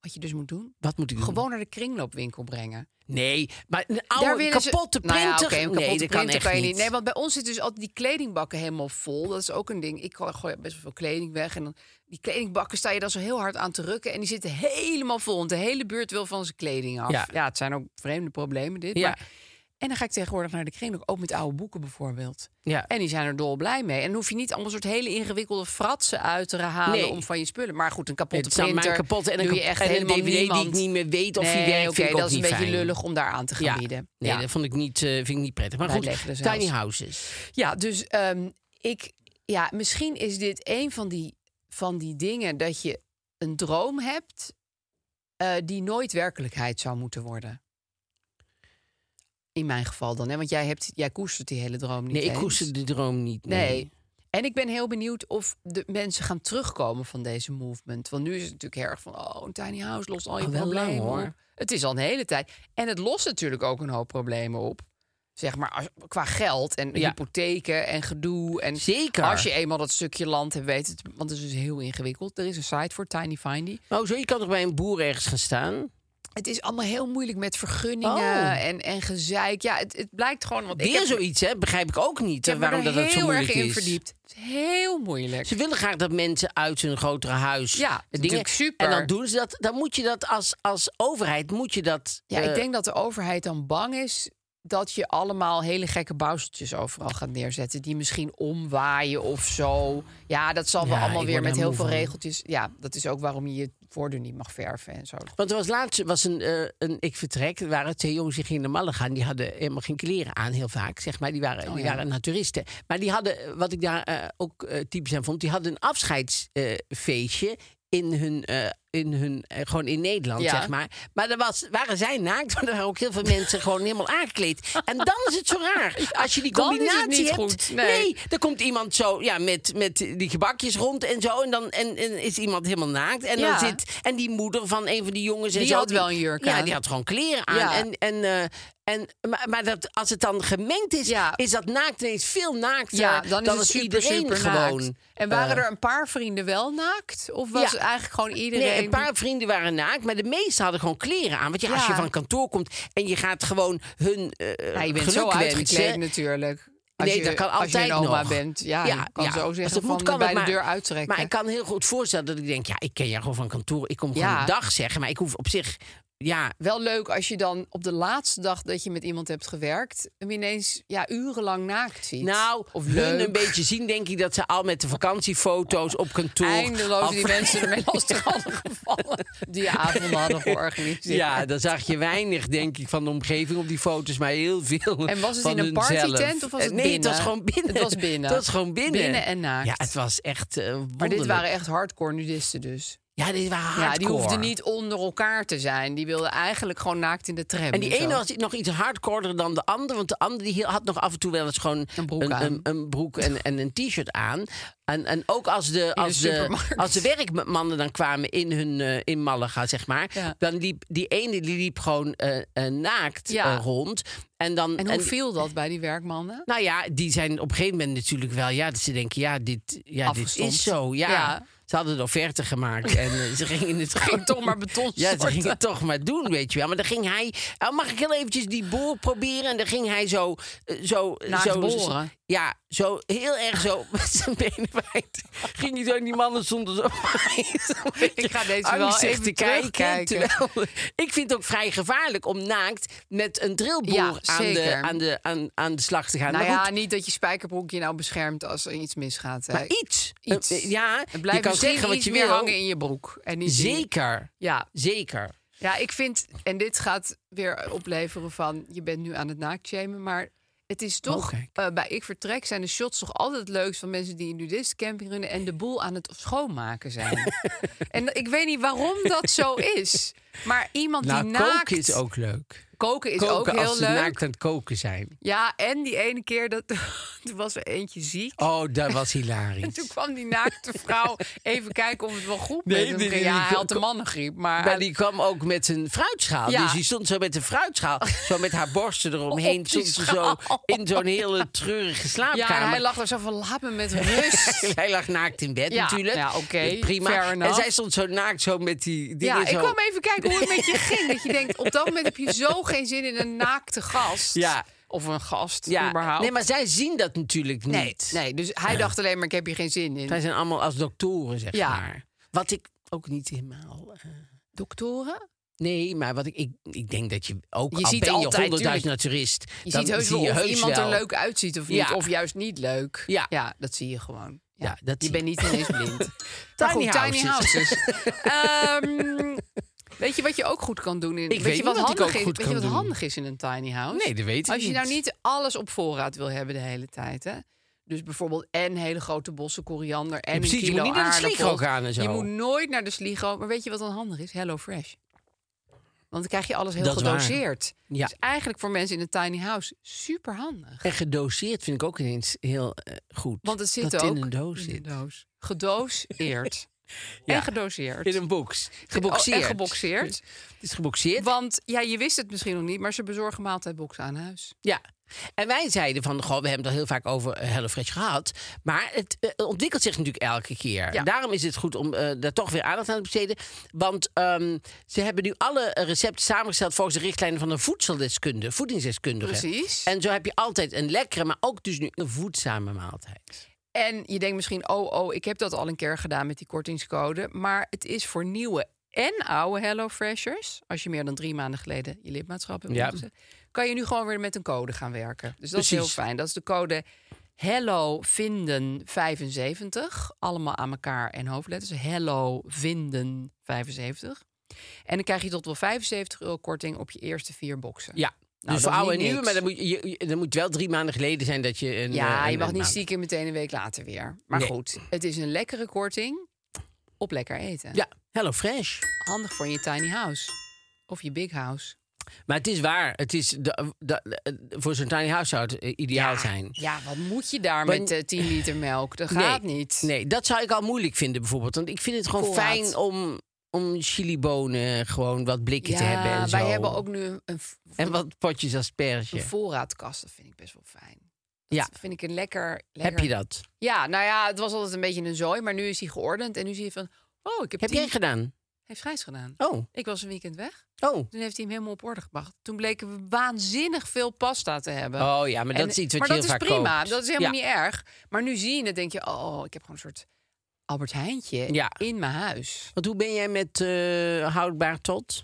S4: Wat je dus moet doen?
S2: Wat moet ik doen?
S4: Gewoon naar de kringloopwinkel brengen.
S2: Nee, maar een
S4: Daar
S2: oude
S4: willen ze-
S2: kapotte
S4: Nou
S2: printer.
S4: ja, oké, een kapotte
S2: nee, dat kan
S4: printer
S2: echt
S4: kan je
S2: niet.
S4: niet. Nee, want bij ons zit dus altijd die kledingbakken helemaal vol. Dat is ook een ding. Ik gooi- gooi best wel veel kleding weg. En dan, die kledingbakken sta je dan zo heel hard aan te rukken. En die zitten helemaal vol. Want de hele buurt wil van zijn kleding af.
S2: Ja.
S4: Ja, het zijn ook vreemde problemen dit.
S2: Ja.
S4: Maar, en dan ga ik tegenwoordig naar de kringloop. Ook met oude boeken bijvoorbeeld.
S2: Ja.
S4: En die zijn er dol blij mee. En dan hoef je niet allemaal soort hele ingewikkelde fratsen uit te halen
S2: Nee.
S4: om van je spullen. Maar goed, een kapotte
S2: Het zou
S4: printer.
S2: maar kapotte en een
S4: doe je
S2: kap-
S4: echt
S2: en een
S4: helemaal
S2: DVD die ik
S4: niemand.
S2: niet meer weet of die
S4: Nee,
S2: werkt,
S4: oké,
S2: vind ik ook
S4: dat is een
S2: niet
S4: beetje
S2: fijn.
S4: lullig om daar aan te gaan
S2: ja.
S4: bieden.
S2: Nee,
S4: Ja.
S2: dat vond ik niet, eh, vind ik niet prettig. Maar
S4: Wij
S2: goed,
S4: leggen er zelfs.
S2: tiny houses.
S4: Ja, dus ehm, ik, ja, misschien is dit een van die, van die dingen dat je een droom hebt eh, die nooit werkelijkheid zou moeten worden. In mijn geval dan, hè? want jij, hebt, jij koestert die hele droom niet.
S2: Nee, ik
S4: eens.
S2: koester de droom niet.
S4: Nee. En ik ben heel benieuwd of de mensen gaan terugkomen van deze movement. Want nu is het natuurlijk heel erg van, oh, een tiny house lost al je
S2: Al wel lang,
S4: problemen
S2: hoor.
S4: op. Het is al een hele tijd. En het lost natuurlijk ook een hoop problemen op. Zeg maar als- qua geld en
S2: Ja.
S4: hypotheken en gedoe. En
S2: Zeker.
S4: Als je eenmaal dat stukje land hebt weten, te- want het is dus heel ingewikkeld. Er is een site voor Tiny Findy.
S2: Nou, zo, je kan toch bij een boer ergens gaan staan?
S4: Het is allemaal heel moeilijk met vergunningen
S2: Oh.
S4: en, en gezeik. Ja, het, het blijkt gewoon. Want ik
S2: Weer
S4: heb,
S2: zoiets, hè? Begrijp ik ook niet.
S4: ik heb
S2: hè,
S4: me
S2: waarom dat
S4: er
S2: dat zo
S4: heel erg
S2: moeilijk
S4: in
S2: is.
S4: verdiept. Het is heel moeilijk.
S2: Ze willen graag dat mensen uit hun grotere huis
S4: Ja, dat is natuurlijk super.
S2: En dan doen ze dat. Dan moet je dat als, als overheid moet je dat.
S4: Ja,
S2: eh,
S4: ik denk dat de overheid dan bang is dat je allemaal hele gekke bouwseltjes overal gaat neerzetten. Die misschien omwaaien of zo. Ja, dat zal
S2: Ja,
S4: wel allemaal
S2: ik
S4: weer
S2: word
S4: met
S2: daar
S4: heel
S2: moe
S4: veel
S2: van.
S4: regeltjes. Ja, dat is ook waarom je je voordeur niet mag verven en zo.
S2: Want er was laatst was een, eh, een ik vertrek. Er waren twee jongens die gingen naar Malaga. gaan. Die hadden helemaal geen kleren aan, heel vaak. Zeg maar. Die waren, die
S4: Oh, ja.
S2: waren naturisten. Maar die hadden, eh, wat ik daar eh, ook eh, typisch aan vond, die hadden een afscheidsfeestje. in hun, eh, in hun eh, gewoon in Nederland,
S4: Ja.
S2: zeg maar. Maar er was, waren zij naakt, maar er waren ook heel veel mensen gewoon helemaal aangekleed. En dan is het zo raar. Als je die
S4: dan is het
S2: combinatie
S4: niet
S2: hebt.
S4: goed. Nee.
S2: dan komt iemand zo ja, met, met die gebakjes rond en zo. En dan en, en is iemand helemaal naakt. En,
S4: Ja.
S2: dan zit, en die moeder van een van die jongens
S4: Die
S2: en zo,
S4: had wel een jurk
S2: Ja,
S4: aan.
S2: die had gewoon kleren aan.
S4: Ja.
S2: En, en, eh, En, maar maar dat, als het dan gemengd is,
S4: Ja.
S2: is dat naakt ineens veel naakter
S4: Ja, dan is het
S2: als
S4: super,
S2: iedereen
S4: super
S2: gewoon.
S4: naakt. En waren
S2: eh,
S4: er een paar vrienden wel naakt? Of was
S2: Ja.
S4: het eigenlijk gewoon iedereen...
S2: Nee, een paar vrienden waren naakt, maar de meesten hadden gewoon kleren aan. Want ja, als
S4: Ja.
S2: je van kantoor komt en je gaat gewoon hun eh
S4: Ja, je bent
S2: geluk
S4: zo
S2: wensen.
S4: uitgekleed natuurlijk. Als
S2: nee,
S4: je,
S2: dat kan
S4: als
S2: altijd
S4: je een oma
S2: nog.
S4: bent. Ja, je kan zo
S2: Als
S4: zeggen
S2: het
S4: van
S2: moet, kan
S4: bij
S2: het,
S4: de
S2: maar-
S4: deur uittrekken.
S2: Maar ik kan heel goed voorstellen dat ik denk, ja, ik ken jou gewoon van kantoor. Ik kom
S4: Ja.
S2: gewoon een dag zeggen, maar ik hoef op zich... Ja,
S4: Wel leuk als je dan op de laatste dag dat je met iemand hebt gewerkt... hem ineens ja, urenlang naakt ziet.
S2: nou,
S4: of
S2: hun
S4: leuk.
S2: een beetje zien, denk ik, dat ze al met de vakantiefoto's op kantoor...
S4: Eindeloos
S2: al
S4: die mensen ermee lastig hadden gevallen. Die avond hadden georganiseerd.
S2: Ja, dan zag je weinig, denk ik, van de omgeving op die foto's, maar heel veel.
S4: En was het
S2: van
S4: in een
S2: hunzelf.
S4: partytent of was het
S2: nee, het was
S4: binnen?
S2: gewoon binnen.
S4: Het was binnen.
S2: Het was gewoon binnen.
S4: Binnen en naakt.
S2: Ja, het was echt. eh, wonderlijk.
S4: Maar dit waren echt hardcore nudisten dus.
S2: Ja, dit waren
S4: Ja, die
S2: hardcore.
S4: hoefden niet onder elkaar te zijn. Die wilden eigenlijk gewoon naakt in de tram.
S2: En die
S4: en
S2: ene
S4: zo.
S2: was nog iets hardcorder dan de ander. Want de ander die had nog af en toe wel eens gewoon
S4: Een broek
S2: een,
S4: aan.
S2: een, een broek en, en een t-shirt aan. En, en ook als de, als, de,
S4: supermarkt.
S2: als de werkmannen dan kwamen in hun eh, in Malaga, zeg maar.
S4: Ja.
S2: Dan liep die ene die liep gewoon eh, eh, naakt
S4: Ja.
S2: eh, rond. En, dan,
S4: En hoe viel dat bij die werkmannen?
S2: Nou ja, die zijn op een gegeven moment natuurlijk wel... Ja, dat ze denken, ja, dit, ja, dit
S4: Afgestompt.
S2: is zo. Ja.
S4: Ja.
S2: Ze hadden een offerte gemaakt en eh, ze gingen het
S4: Ging toch maar beton
S2: Ja, ze
S4: storten.
S2: gingen het toch maar doen, weet je wel. Maar dan ging hij... "Ah, mag ik heel eventjes die boor proberen? En dan ging hij zo... eh, zo,
S4: Naakt
S2: zo
S4: boren.
S2: Ja, zo heel erg zo met zijn benen wijd. Ging hij zo en die mannen stonden zo...
S4: Ik ga deze wel
S2: Angstig
S4: even
S2: te kijken.
S4: terugkijken.
S2: terwijl- ik vind het ook vrij gevaarlijk om naakt met een drillboor
S4: Ja,
S2: aan, de,
S4: zeker.
S2: aan, de, aan, aan de slag te gaan.
S4: Nou
S2: Maar goed,
S4: ja, niet dat je spijkerbroek je nou beschermt als er iets misgaat. hè.
S2: maar iets.
S4: iets.
S2: Eh, Ja,
S4: Het blijft
S2: je kan
S4: misschien
S2: zeggen wat
S4: iets
S2: je
S4: meer
S2: wil.
S4: hangen in je broek. En niet in-
S2: Zeker,
S4: Ja.
S2: zeker.
S4: ja, ik vind, en dit gaat weer opleveren van... je bent nu aan het naaktjamen, maar het is toch...
S2: Oh, kijk.
S4: eh, bij Ik Vertrek zijn de shots toch altijd het leukst... van mensen die in nudistencamping runnen... en de boel aan het schoonmaken zijn. en ik weet niet waarom dat zo is. Maar iemand
S2: Nou,
S4: die naakt...
S2: koken is ook leuk.
S4: Koken is
S2: koken
S4: ook heel
S2: als ze
S4: leuk.
S2: naakt aan het koken zijn.
S4: Ja, en die ene keer dat toen was er eentje ziek.
S2: Oh, dat was
S4: En
S2: hilarisch.
S4: toen kwam die naakte vrouw even kijken of het wel goed
S2: Nee,
S4: met hem
S2: die-
S4: ging.
S2: die-
S4: ja,
S2: die-
S4: hij had de mannengriep, maar...
S2: Maar die kwam ook met een fruitschaal.
S4: Ja.
S2: Dus die stond zo met een fruitschaal. Zo met haar borsten eromheen.
S4: Op die
S2: Stond ze zo
S4: schaal.
S2: in zo'n hele treurige
S4: ja, en
S2: slaapkamer.
S4: hij lag er zo van, laat me met rust.
S2: Hij lag naakt in bed
S4: Ja,
S2: natuurlijk.
S4: ja, oké,
S2: Prima.
S4: fair
S2: en
S4: enough.
S2: zij stond zo naakt zo met die dingen
S4: ja, ik
S2: zo.
S4: kwam even kijken hoe het met je ging. Dat je denkt, op dat moment heb je zo geen zin in een naakte gast.
S2: Ja.
S4: Of een gast,
S2: ja.
S4: überhaupt.
S2: Nee, maar zij zien dat natuurlijk niet.
S4: nee, nee, dus hij dacht alleen maar, ik heb hier geen zin in.
S2: Zij zijn allemaal als doktoren, zeg
S4: Ja.
S2: maar. Wat ik ook niet helemaal... eh,
S4: Doktoren?
S2: Nee, maar wat ik, ik, ik denk dat je ook
S4: Je
S2: al
S4: ziet
S2: ben je
S4: altijd,
S2: honderdduizend
S4: tuurlijk.
S2: naturist...
S4: Je
S2: dan
S4: ziet heus
S2: zie
S4: wel
S2: je
S4: of
S2: heus
S4: iemand er
S2: wel-
S4: leuk uitziet of niet.
S2: Ja.
S4: Of juist niet leuk.
S2: Ja.
S4: dat zie je gewoon.
S2: Ja, dat
S4: je
S2: zie
S4: bent
S2: je.
S4: niet ineens blind.
S2: Tiny
S4: Maar goed, tiny
S2: houses.
S4: houses. Ehm, weet je wat je ook goed kan doen? In,
S2: Ik weet
S4: je
S2: niet wat ik
S4: handig
S2: ook
S4: is,
S2: goed
S4: weet
S2: kan
S4: je wat
S2: doen.
S4: handig is in een tiny house?
S2: Nee, dat weet ik
S4: Als je nou
S2: niet.
S4: niet alles op voorraad wil hebben de hele tijd, hè? Dus bijvoorbeeld en hele grote bossen koriander en
S2: precies,
S4: een
S2: je
S4: kilo
S2: moet niet naar de
S4: aardappels.
S2: sligo gaan en zo.
S4: Je moet nooit naar de sligo. Maar weet je wat dan handig is? Hello Fresh. Want dan krijg je alles heel
S2: Dat is waar.
S4: gedoseerd.
S2: Ja.
S4: Dus eigenlijk voor mensen in een tiny house super handig.
S2: En gedoseerd vind ik ook ineens heel eh, goed.
S4: Want het zit
S2: dat
S4: ook
S2: in een doos zit.
S4: in een doos. Gedoseerd.
S2: Ja.
S4: En gedoseerd.
S2: In een box. Geboxeerd.
S4: Oh, en geboxeerd.
S2: Het is geboxeerd.
S4: Want ja, je wist het misschien nog niet, maar ze bezorgen maaltijdboxen aan huis.
S2: Ja. En wij zeiden van, goh, we hebben het al heel vaak over eh, HelloFresh gehad. Maar het eh, ontwikkelt zich natuurlijk elke keer.
S4: Ja.
S2: Daarom is het goed om eh, daar toch weer aandacht aan te besteden. Want ehm, ze hebben nu alle eh, recepten samengesteld volgens de richtlijnen van een voedseldeskundige, voedingsdeskundige.
S4: Precies.
S2: En zo heb je altijd een lekkere, maar ook dus nu een voedzame maaltijd.
S4: En je denkt misschien, oh, oh, ik heb dat al een keer gedaan met die kortingscode. Maar het is voor nieuwe en oude HelloFreshers. Als je meer dan drie maanden geleden je lidmaatschap hebt
S2: Ja.
S4: opgezet, kan je nu gewoon weer met een code gaan werken. Dus dat is
S2: Precies.
S4: heel fijn. Dat is de code Hello Vinden 75. Allemaal aan elkaar en hoofdletters. Hello Vinden 75. En dan krijg je tot wel 75 euro korting op je eerste vier boxen.
S2: Ja.
S4: Nou,
S2: dus
S4: dat
S2: voor
S4: is
S2: oude en
S4: niet
S2: nieuwe, maar
S4: niks.
S2: dan moet, je, je- dan moet wel drie maanden geleden zijn dat je... Een, eh,
S4: Ja, je
S2: een-
S4: mag
S2: een
S4: niet
S2: maand-
S4: stiekem meteen een week later weer. Maar
S2: Nee.
S4: goed, het is een lekkere korting op lekker eten.
S2: Ja, HelloFresh.
S4: Handig voor je tiny house of je big house.
S2: Maar het is waar. Het is de- eh, de- de- voor zo'n tiny house zou het eh, ideaal zijn.
S4: Ja, wat moet je daar
S2: Want-
S4: met eh, 10 liter melk? Dat gaat
S2: nee,
S4: niet.
S2: Nee, dat zou ik al moeilijk vinden bijvoorbeeld. Want ik vind het gewoon
S4: Voorraad.
S2: fijn om om chilibonen gewoon wat blikken te hebben en zo.
S4: wij hebben ook nu een, een v-
S2: En wat potjes
S4: een
S2: asperge.
S4: voorraadkast. Dat vind ik best wel fijn. Dat
S2: Ja.
S4: vind ik een lekker, lekker...
S2: Heb je dat?
S4: Ja, nou ja, het was altijd een beetje een zooi, maar nu is hij geordend. En nu zie je van, oh, ik heb,
S2: Heb
S4: tien-
S2: jij gedaan?
S4: Hij heeft grijs gedaan.
S2: Oh,
S4: Ik was een weekend weg.
S2: oh.
S4: Toen heeft hij hem helemaal op orde gebracht. Toen bleken we waanzinnig veel pasta te hebben.
S2: Oh ja, maar dat is iets wat
S4: maar
S2: je
S4: dat
S2: heel vaak
S4: is prima.
S2: koopt.
S4: Dat is helemaal
S2: Ja.
S4: niet erg. Maar nu zie je het, denk je, oh, ik heb gewoon een soort Albert Heijntje
S2: Ja.
S4: in mijn huis.
S2: Want hoe ben jij met eh, houdbaar tot?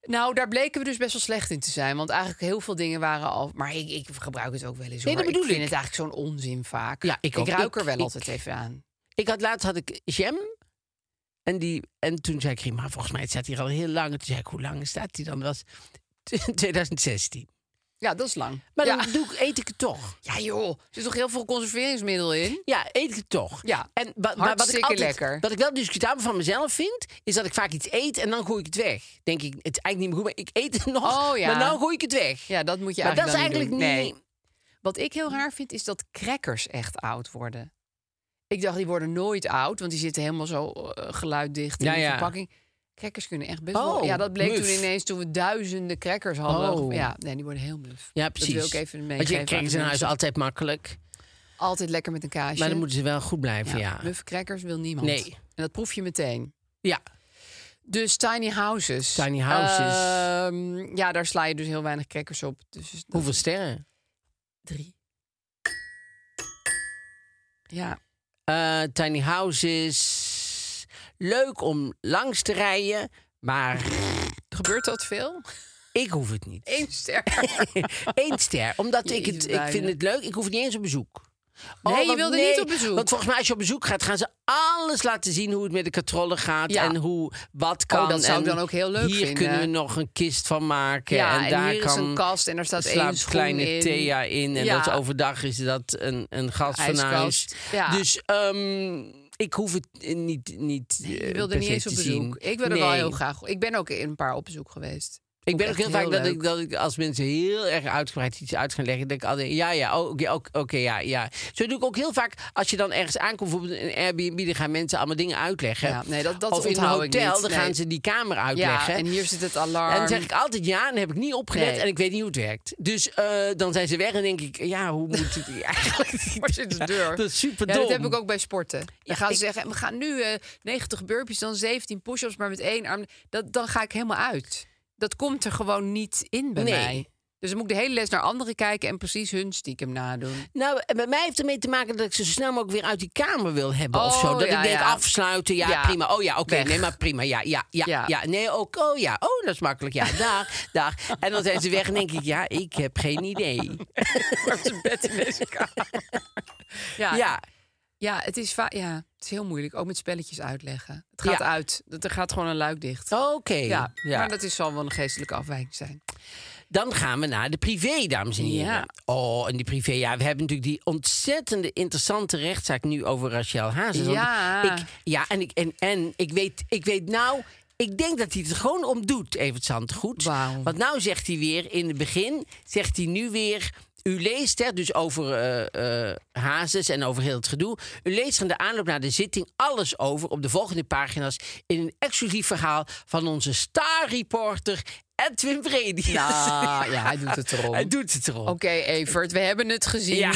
S4: Nou, daar bleken we dus best wel slecht in te zijn. Want eigenlijk heel veel dingen waren al... Maar ik, ik gebruik het ook wel eens,
S2: Nee,
S4: hoor.
S2: dat bedoel
S4: ik vind
S2: ik.
S4: het eigenlijk zo'n onzin vaak.
S2: Ja, ik ook.
S4: ruik
S2: Ik-
S4: er wel
S2: ik-
S4: altijd even aan.
S2: Ik had laatst had ik jam. En, die, en toen zei ik, maar volgens mij het staat hier al heel lang. En Toen zei ik, hoe lang staat die dan? Dat was 2016.
S4: Ja, dat is lang.
S2: Maar
S4: ja.
S2: dan doe ik, eet ik het toch.
S4: ja, joh. Er zit toch heel veel conserveringsmiddel in?
S2: Ja, eet ik het toch.
S4: Ja,
S2: en wa- maar wat ik
S4: hartstikke
S2: altijd,
S4: lekker.
S2: Wat ik wel discutabel van mezelf vind, is dat ik vaak iets eet en dan gooi ik het weg. Denk ik, het is eigenlijk niet meer goed, maar ik eet het nog,
S4: Oh, ja.
S2: maar nou gooi ik het weg.
S4: Ja, dat moet je
S2: maar dat is
S4: eigenlijk dan
S2: eigenlijk
S4: niet
S2: niet...
S4: doen. Nee. Wat ik heel raar vind, is dat crackers echt oud worden. Ik dacht, die worden nooit oud, want die zitten helemaal zo eh, geluiddicht in
S2: Ja,
S4: de
S2: ja.
S4: verpakking. Crackers kunnen echt best
S2: Oh,
S4: wel... Ja, dat bleek
S2: muf.
S4: toen ineens, toen we duizenden crackers hadden.
S2: Oh.
S4: Ja, nee, die worden heel bluf.
S2: Ja, precies.
S4: Dat wil ik even
S2: Want je
S4: meegeven.
S2: krijgt in
S4: aan de
S2: huis
S4: mensen.
S2: altijd makkelijk.
S4: Altijd lekker met een kaasje.
S2: Maar dan moeten ze wel goed blijven, ja.
S4: ja, muffe crackers wil niemand.
S2: Nee.
S4: En dat proef je meteen.
S2: Ja.
S4: Dus tiny houses.
S2: Tiny houses.
S4: Ehm, ja, daar sla je dus heel weinig crackers op. Dus dat-
S2: Hoeveel sterren?
S4: Drie. Ja.
S2: Eh, tiny houses. Leuk om langs te rijden, maar
S4: Gebeurt dat veel?
S2: ik hoef het niet.
S4: Eén ster.
S2: Eén ster, omdat ik,
S4: Jezus,
S2: het, ik vind
S4: bijna.
S2: het leuk. Ik hoef niet eens op bezoek. Oh,
S4: Nee, je
S2: want
S4: wilde niet op bezoek.
S2: Want volgens mij als je op bezoek gaat, gaan ze alles laten zien hoe het met de controle gaat
S4: Ja. Oh,
S2: en hoe wat kan.
S4: dat zou ik
S2: en
S4: dan ook heel leuk
S2: hier
S4: vinden.
S2: kunnen we nog een kist van maken
S4: Ja,
S2: en,
S4: en
S2: daar
S4: hier is
S2: kan
S4: een kast en daar staat één
S2: slaapt
S4: schoen
S2: kleine
S4: in.
S2: Thea in en
S4: Ja.
S2: dat overdag is dat een een gast van huis.
S4: Ijskast, ja.
S2: Dus ehm, ik hoef het eh, niet niet.
S4: Je
S2: eh,
S4: wilde
S2: per
S4: niet
S2: se
S4: eens op
S2: te
S4: bezoek.
S2: zien.
S4: Ik wil er wel
S2: Nee.
S4: heel graag. Ik ben ook in een paar op bezoek geweest.
S2: Ik ben ook
S4: Vond
S2: heel
S4: ik
S2: vaak
S4: echt
S2: dat
S4: heel
S2: ik, dat ik als mensen heel erg uitgebreid iets uit gaan leggen, denk ik altijd ja, ja, oh, oké, oké, oké, ja, ja. Zo doe ik ook heel vaak als je dan ergens aankomt, bijvoorbeeld in een Airbnb, dan gaan mensen allemaal dingen uitleggen.
S4: Ja, nee, dat- dat
S2: of in een
S4: onthoud ik
S2: hotel,
S4: niet,
S2: dan
S4: nee.
S2: gaan ze die kamer uitleggen.
S4: Ja, en hier zit het alarm.
S2: En dan zeg ik altijd ja, en dan heb ik niet opgelet
S4: Nee.
S2: en ik weet niet hoe het werkt. Dus eh, dan zijn ze weg en denk ik, ja, hoe moet ik eigenlijk...
S4: Waar zit de deur?
S2: Dat is super
S4: Ja,
S2: dom.
S4: dat heb ik ook bij sporten. Dan
S2: Ja,
S4: gaan ze
S2: ik-
S4: zeggen, we gaan nu eh, 90 burpees, dan 17 push-ups, maar met één arm. Dat, dan ga ik helemaal uit. Dat komt er gewoon niet in bij
S2: Nee.
S4: mij. Dus dan moet ik de hele les naar anderen kijken en precies hun stiekem nadoen.
S2: Nou, en bij mij heeft het ermee te maken dat ik zo snel mogelijk weer uit die kamer wil hebben of
S4: Oh,
S2: zo. Dat
S4: ja,
S2: ik denk,
S4: ja.
S2: afsluiten, ja,
S4: Ja.
S2: prima. Oh ja, oké,
S4: Weg.
S2: nee, maar prima. Ja, ja, ja, ja.
S4: Ja.
S2: Nee, ook, oh ja, oh, dat is makkelijk. Ja, dag, dag. En dan zijn ze weg en denk ik, ja, ik heb geen idee.
S4: Maar zijn bed in deze kamer. Ja, ja.
S2: Ja,
S4: het is va- ja, het is heel moeilijk. Ook met spelletjes uitleggen. Het gaat
S2: Ja.
S4: uit. Dat- Er gaat gewoon een luik dicht.
S2: oké.
S4: Ja,
S2: Ja,
S4: maar dat is, zal wel een geestelijke afwijking zijn.
S2: Dan gaan we naar de privé, dames en heren.
S4: Ja.
S2: Oh, en die privé, ja, we hebben natuurlijk die ontzettende interessante rechtszaak nu over Rachel Hazes. Want
S4: Ja.
S2: Ik, ja, en ik, en, en ik, weet, ik weet nou, ik denk dat hij het er gewoon om doet, Evert Zandgoed.
S4: Wauw.
S2: Want nou zegt hij weer, in het begin zegt hij nu weer... U leest, hè, dus over eh, eh, Hazes en over heel het gedoe... U leest van de aanloop naar de zitting alles over... op de volgende pagina's in een exclusief verhaal... van onze star-reporter Edwin Bredius.
S4: Ja, Ah, ja, hij doet het erom.
S2: Hij doet het erom.
S4: Oké, Evert, we hebben het gezien.
S2: Ja,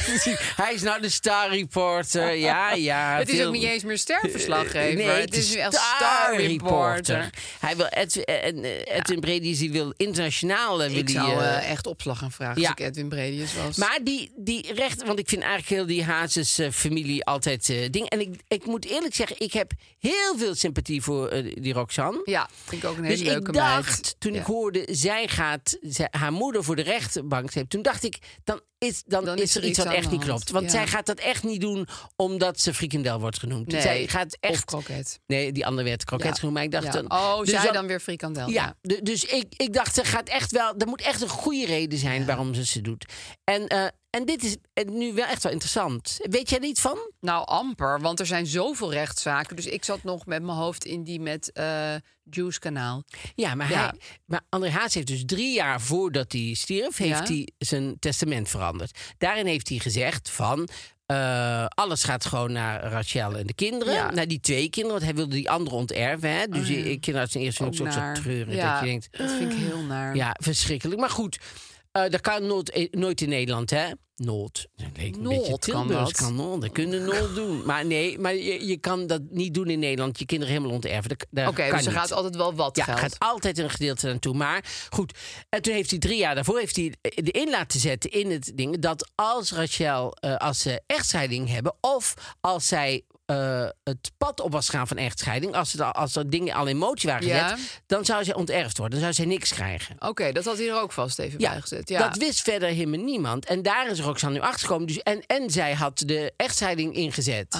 S2: hij is nou de star reporter. Ja, ja.
S4: Het is
S2: veel-
S4: ook niet eens meer sterverslaggever.
S2: Nee,
S4: het is nu echt star reporter.
S2: Hij wil Edwin, en, eh, Edwin Bredius die wil internationaal. eh, wil
S4: Ik
S2: die,
S4: zou
S2: eh,
S4: eh, echt opslag gaan vragen
S2: ja.
S4: als ik Edwin Bredius was.
S2: maar die, die recht, want ik vind eigenlijk heel die Hazes eh, familie altijd eh, ding. En ik, ik moet eerlijk zeggen, ik heb heel veel sympathie voor eh, die Roxanne.
S4: ja, vind ik ook een hele
S2: Dus
S4: leuke
S2: ik dacht,
S4: meid.
S2: toen
S4: Ja.
S2: ik hoorde, zij gaat zij- haar moeder voor de rechtbank zetten. Toen dacht ik, dan is, dan
S4: Dan
S2: is er iets wat
S4: aan
S2: echt
S4: de
S2: niet
S4: hand.
S2: klopt. Want
S4: Ja.
S2: zij gaat dat echt niet doen omdat ze frikandel wordt genoemd.
S4: Nee,
S2: zij gaat
S4: Of
S2: echt...
S4: kroket.
S2: Nee, die andere werd kroket
S4: Ja.
S2: genoemd, maar ik dacht...
S4: Ja.
S2: Dan,
S4: Oh,
S2: dus
S4: zij dan, weer frikandel.
S2: Ja, du- dus ik, ik dacht, ze gaat echt wel... Er moet echt een goede reden zijn waarom ze ze doet. En, eh, en dit is eh, nu wel echt wel interessant. Weet jij er iets van?
S4: Nou, amper, want er zijn zoveel rechtszaken. Dus ik zat nog met mijn hoofd in die met eh Juice Kanaal.
S2: Ja, maar,
S4: Ja.
S2: Hij, maar André Haas heeft dus drie jaar voordat hij stierf... heeft
S4: Ja.
S2: hij zijn testament veranderd. Daarin heeft hij gezegd van... eh, alles gaat gewoon naar Rachel en de kinderen.
S4: Ja. Oh
S2: Naar die twee kinderen, want hij wilde die andere onterven. Hè? Dus ik kinderarts in eerste hulp ook zo treurig. Dat je denkt,
S4: dat vind ik heel naar.
S2: ja, verschrikkelijk. Maar goed, eh, dat kan nooit, eh, nooit in Nederland, hè? Nood. Dat leek een
S4: Nooit
S2: beetje
S4: kan
S2: Tilburgs
S4: dat.
S2: kan nooit. Dat kunnen nooit doen. Maar nee, maar je, je kan dat niet doen in Nederland. Je kinderen helemaal onterven. Dat, dat
S4: Oké,
S2: kan
S4: dus er
S2: niet.
S4: gaat altijd wel wat
S2: Ja,
S4: geld.
S2: gaat altijd een gedeelte naartoe. Maar goed, en toen heeft hij drie jaar daarvoor heeft hij de in laten zetten in het ding dat als Rachel, eh, als ze echtscheiding hebben, of als zij eh, het pad op was gaan van echtscheiding, als, het, al- als er dingen al in motie waren gezet,
S4: Ja.
S2: dan zou zij onterfd worden. Dan zou zij niks krijgen.
S4: Oké, dat had hij er ook vast even bij gezet. Ja.
S2: Dat wist verder helemaal niemand. En daar is Roxanne nu achter gekomen. Dus en, en zij had de echtscheiding ingezet.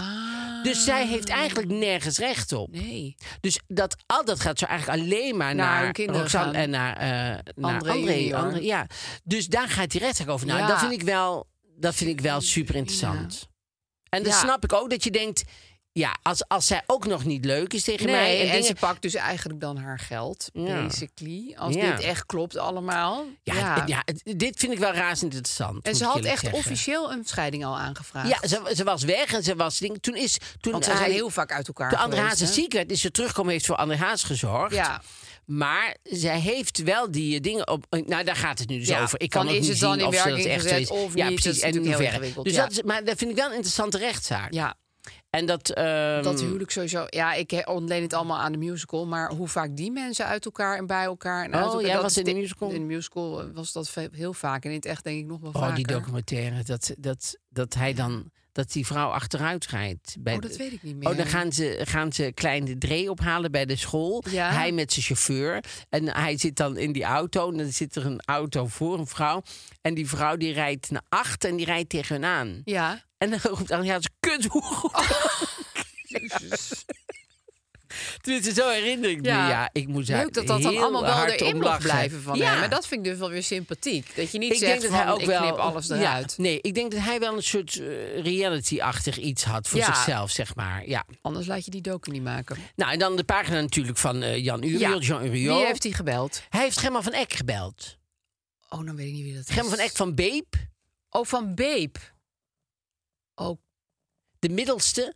S2: Dus zij heeft eigenlijk nergens recht op.
S4: Ah. Nee.
S2: Dus dat, al dat gaat zo eigenlijk alleen maar
S4: Naar
S2: naar,
S4: hun kinderen
S2: Roxanne
S4: gaan.
S2: en naar, eh naar André.
S4: André junior.
S2: André, ja. Dus daar gaat die rechtszaak over. Nou,
S4: Ja.
S2: dat, vind ik wel, dat vind ik wel super interessant. En dan
S4: Ja.
S2: snap ik ook dat je denkt... Ja, als, als zij ook nog niet leuk is tegen
S4: Nee,
S2: mij... En
S4: en, ze
S2: dingen,
S4: pakt dus eigenlijk dan haar geld,
S2: Ja.
S4: basically. Als
S2: Ja.
S4: dit echt klopt allemaal.
S2: ja, ja. het- dit vind ik wel razend interessant.
S4: En
S2: moet
S4: ze
S2: ik
S4: had
S2: eerlijk
S4: echt
S2: zeggen.
S4: officieel een scheiding al aangevraagd.
S2: Ja, ze, ze was weg en ze was... ding- Toen is... Toen
S4: Want ze
S2: hij-
S4: zijn heel vaak uit elkaar
S2: Toen André
S4: geweest,
S2: Hazes
S4: hè?
S2: ziek werd, is ze teruggekomen, heeft voor André Hazes gezorgd.
S4: Ja.
S2: Maar zij heeft wel die eh, dingen op. eh, Nou, daar gaat het nu dus
S4: Ja,
S2: over. Ik
S4: van
S2: kan ook
S4: is
S2: niet
S4: het dan
S2: zien
S4: in
S2: of ze dat
S4: werking
S2: echt zo
S4: gezet
S2: is.
S4: of
S2: ja,
S4: niet, dat
S2: precies.
S4: is
S2: en in
S4: natuurlijk heel
S2: hoeverre.
S4: ingewikkeld,
S2: Dus
S4: ja.
S2: dat is, maar dat vind ik wel een interessante rechtszaak.
S4: Ja,
S2: En dat. ehm,
S4: dat huwelijk sowieso. Ja, ik he- ontleen het allemaal aan de musical. Maar hoe vaak die mensen uit elkaar en bij elkaar. En uit
S2: Oh,
S4: elkaar,
S2: jij
S4: dat
S2: was
S4: is
S2: in de musical?
S4: In de musical eh, was dat ve- heel vaak. En in het echt denk ik nog wel vaker.
S2: Oh, die documentaire. Dat, dat, dat hij dan. Dat die vrouw achteruit rijdt. Bij
S4: Oh, dat weet ik niet meer.
S2: Oh, dan gaan ze, gaan ze kleine Dree ophalen bij de school.
S4: Ja.
S2: Hij met zijn chauffeur. En hij zit dan in die auto. En dan zit er een auto voor een vrouw. En die vrouw die rijdt naar acht en die rijdt tegen hun aan.
S4: Ja. Oh.
S2: En dan roept Adriaan, kut hoe
S4: Jezus.
S2: Tenminste, zo herinner ik me. Ja,
S4: Ja.
S2: ik moest daar
S4: Leuk dat dat dan
S2: heel
S4: allemaal wel
S2: hard
S4: erin
S2: om
S4: mag
S2: lachen.
S4: blijven van
S2: ja.
S4: hem. En dat vind ik dus wel weer sympathiek. Dat je niet
S2: ik
S4: zegt
S2: denk dat
S4: van,
S2: hij ook
S4: ik
S2: wel
S4: knip alles eruit.
S2: Ja, nee, ik denk dat hij wel een soort eh, reality-achtig iets had voor
S4: Ja.
S2: zichzelf, zeg maar. Ja.
S4: Anders laat je die docu niet maken.
S2: Nou, en dan de pagina natuurlijk van eh, Jan Uriel, Jean Uriel.
S4: Wie heeft hij gebeld?
S2: Hij heeft Gemma van Eck gebeld.
S4: Oh, dan weet ik niet wie dat is.
S2: Gemma van Eck van Beep,
S4: Oh, van Beep. Oh,
S2: de middelste.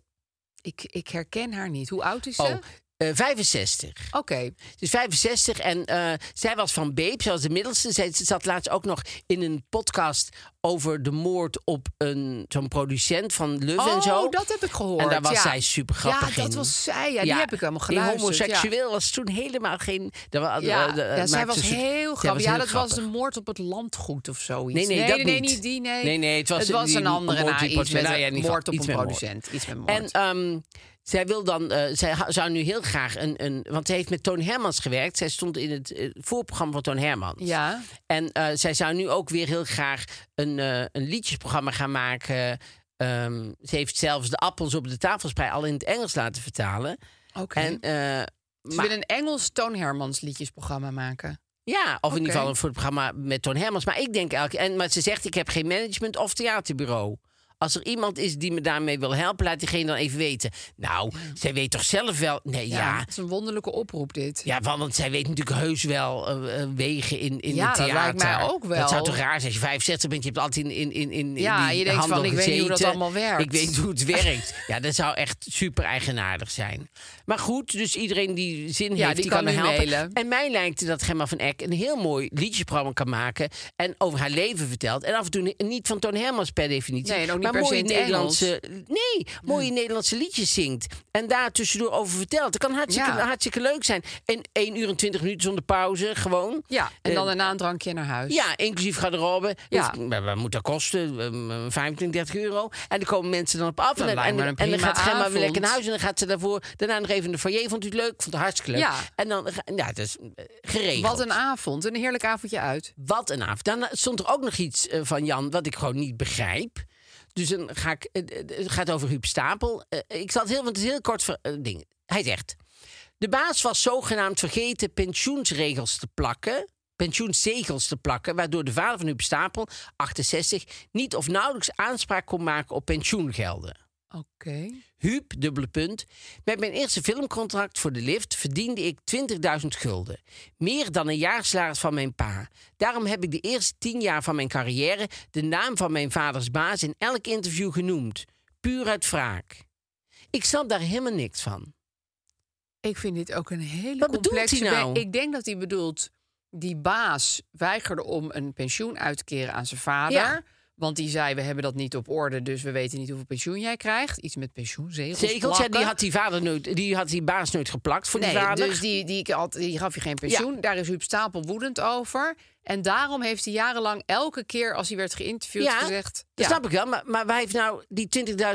S4: ik, ik herken haar niet. Hoe oud is ze?
S2: Oh, eh, 65.
S4: Oké.
S2: Dus 65 en eh, zij was van Beep, zoals de middelste. Zij zat laatst ook nog in een podcast over de moord op een zo'n producent van Love en zo.
S4: Oh, dat heb ik gehoord.
S2: En daar was
S4: ja.
S2: zij super grappig
S4: Ja, dat
S2: in.
S4: was zij. Ja, die heb ik helemaal geluisterd.
S2: Die homoseksueel was toen helemaal geen... daar wa-
S4: Ja,
S2: eh,
S4: ja,
S2: eh,
S4: ja zij
S2: maakte
S4: was
S2: een soort- zij
S4: heel grappig.
S2: heel
S4: ja, dat was
S2: grappig.
S4: een moord op het landgoed of zoiets.
S2: Nee, nee, dat
S4: nee,
S2: niet.
S4: niet die, nee.
S2: Nee, nee, het was die-
S4: een andere
S2: een moord
S4: na,
S2: die
S4: iets met
S2: nou ja, in
S4: een
S2: ieder geval
S4: moord op
S2: iets
S4: een
S2: met moord.
S4: producent. Iets met moord.
S2: En ehm, zij wil dan, eh, zij ha- zou nu heel graag een, een. Want ze heeft met Toon Hermans gewerkt. Zij stond in het eh, voorprogramma van Toon Hermans.
S4: Ja.
S2: En eh, zij zou nu ook weer heel graag een, eh, een liedjesprogramma gaan maken. Ehm, ze heeft zelfs de appels op de tafelsprei al in het Engels laten vertalen.
S4: Oké.
S2: En, eh,
S4: Ze
S2: maar-
S4: willen een Engels Toon Hermans liedjesprogramma maken.
S2: ja, of in ieder
S4: Oké.
S2: geval een voorprogramma met Toon Hermans. Maar ik denk elke en maar ze zegt ik heb geen management of theaterbureau. Als er iemand is die me daarmee wil helpen, laat diegene dan even weten. Nou, zij weet toch zelf wel. Nee, ja.
S4: Het is een wonderlijke oproep dit.
S2: Ja, want want zij weet natuurlijk heus wel eh, eh, wegen in, in
S4: Ja,
S2: de
S4: dat
S2: theater.
S4: lijkt mij ook wel.
S2: Dat zou toch raar zijn als je 65 bent, je hebt altijd in, in, in, in
S4: Ja,
S2: die
S4: je denkt
S2: handel
S4: van, ik weet niet hoe dat
S2: gezeten.
S4: allemaal werkt.
S2: Ik weet hoe het werkt. ja, dat zou echt super eigenaardig zijn. Maar goed, dus iedereen die zin heeft,
S4: die
S2: die kan,
S4: kan
S2: er
S4: nu
S2: helpen.
S4: mailen.
S2: En mij lijkt het dat Gemma van Eck een heel mooi liedjesprogramma kan maken... en over haar leven vertelt. En af en toe niet van Toon Hermans per definitie.
S4: Nee, en ook niet
S2: maar
S4: per se
S2: mooie
S4: in het
S2: Nederlandse, eh, Nee, mooie Nederlandse liedjes zingt. En daar tussendoor over vertelt. Dat kan hartstikke,
S4: Ja.
S2: hartstikke leuk zijn. En 1 uur en 20 minuten zonder pauze, gewoon.
S4: Ja, en
S2: Eh,
S4: dan daarna een drankje naar huis.
S2: ja, inclusief garderobe.
S4: Ja.
S2: Ja. Wat wat moet dat kosten? Ehm, 25, 30 euro. En daar komen mensen dan op af.
S4: Dat
S2: en,
S4: lijkt
S2: en,
S4: me een
S2: en dan
S4: prima
S2: gaat Gemma weer
S4: avond.
S2: lekker naar huis. En dan gaat ze daarvoor daarna nog even in de foyer. Vond u het leuk? Vond het hartstikke leuk.
S4: Ja.
S2: En dan, ga- ja, het is eh, geregeld.
S4: Wat een avond. Een heerlijk avondje uit.
S2: Wat een avond. Dan stond er ook nog iets eh, van Jan wat ik gewoon niet begrijp. Dus dan ga ik, eh, eh, het gaat over Huub Stapel. Eh, ik zal het heel, want het is heel kort ver- eh, ding. Hij zegt: De baas was zogenaamd vergeten pensioensregels te plakken. Pensioenzegels te plakken, waardoor de vader van Huub Stapel, 68, niet of nauwelijks aanspraak kon maken op pensioengelden.
S4: Oké.
S2: Huub, dubbele punt. Met mijn eerste filmcontract voor de lift verdiende ik 20.000 gulden. Meer dan een jaarsalaris van mijn pa. Daarom heb ik de eerste tien jaar van mijn carrière de naam van mijn vaders baas in elk interview genoemd. Puur uit wraak. Ik snap daar helemaal niks van.
S4: Ik vind dit ook een hele
S2: Wat bedoelt
S4: complexe...
S2: hij nou?
S4: be- Ik denk dat hij bedoelt... die baas weigerde om een pensioen uit te keren aan zijn vader...
S2: Ja.
S4: Want die zei, we hebben dat niet op orde, dus we weten niet hoeveel pensioen jij krijgt. Iets met pensioenzegels
S2: Zegels, ja, die
S4: plakken.
S2: had die, vader nooit, die had die baas nooit geplakt voor die
S4: Nee,
S2: vader.
S4: dus die, die, had, die gaf je geen pensioen. Daar is Huub Stapel woedend over. En daarom heeft hij jarenlang elke keer als hij werd geïnterviewd
S2: ja,
S4: gezegd...
S2: dat
S4: ja,
S2: snap ik wel. Maar, maar waar heeft nou die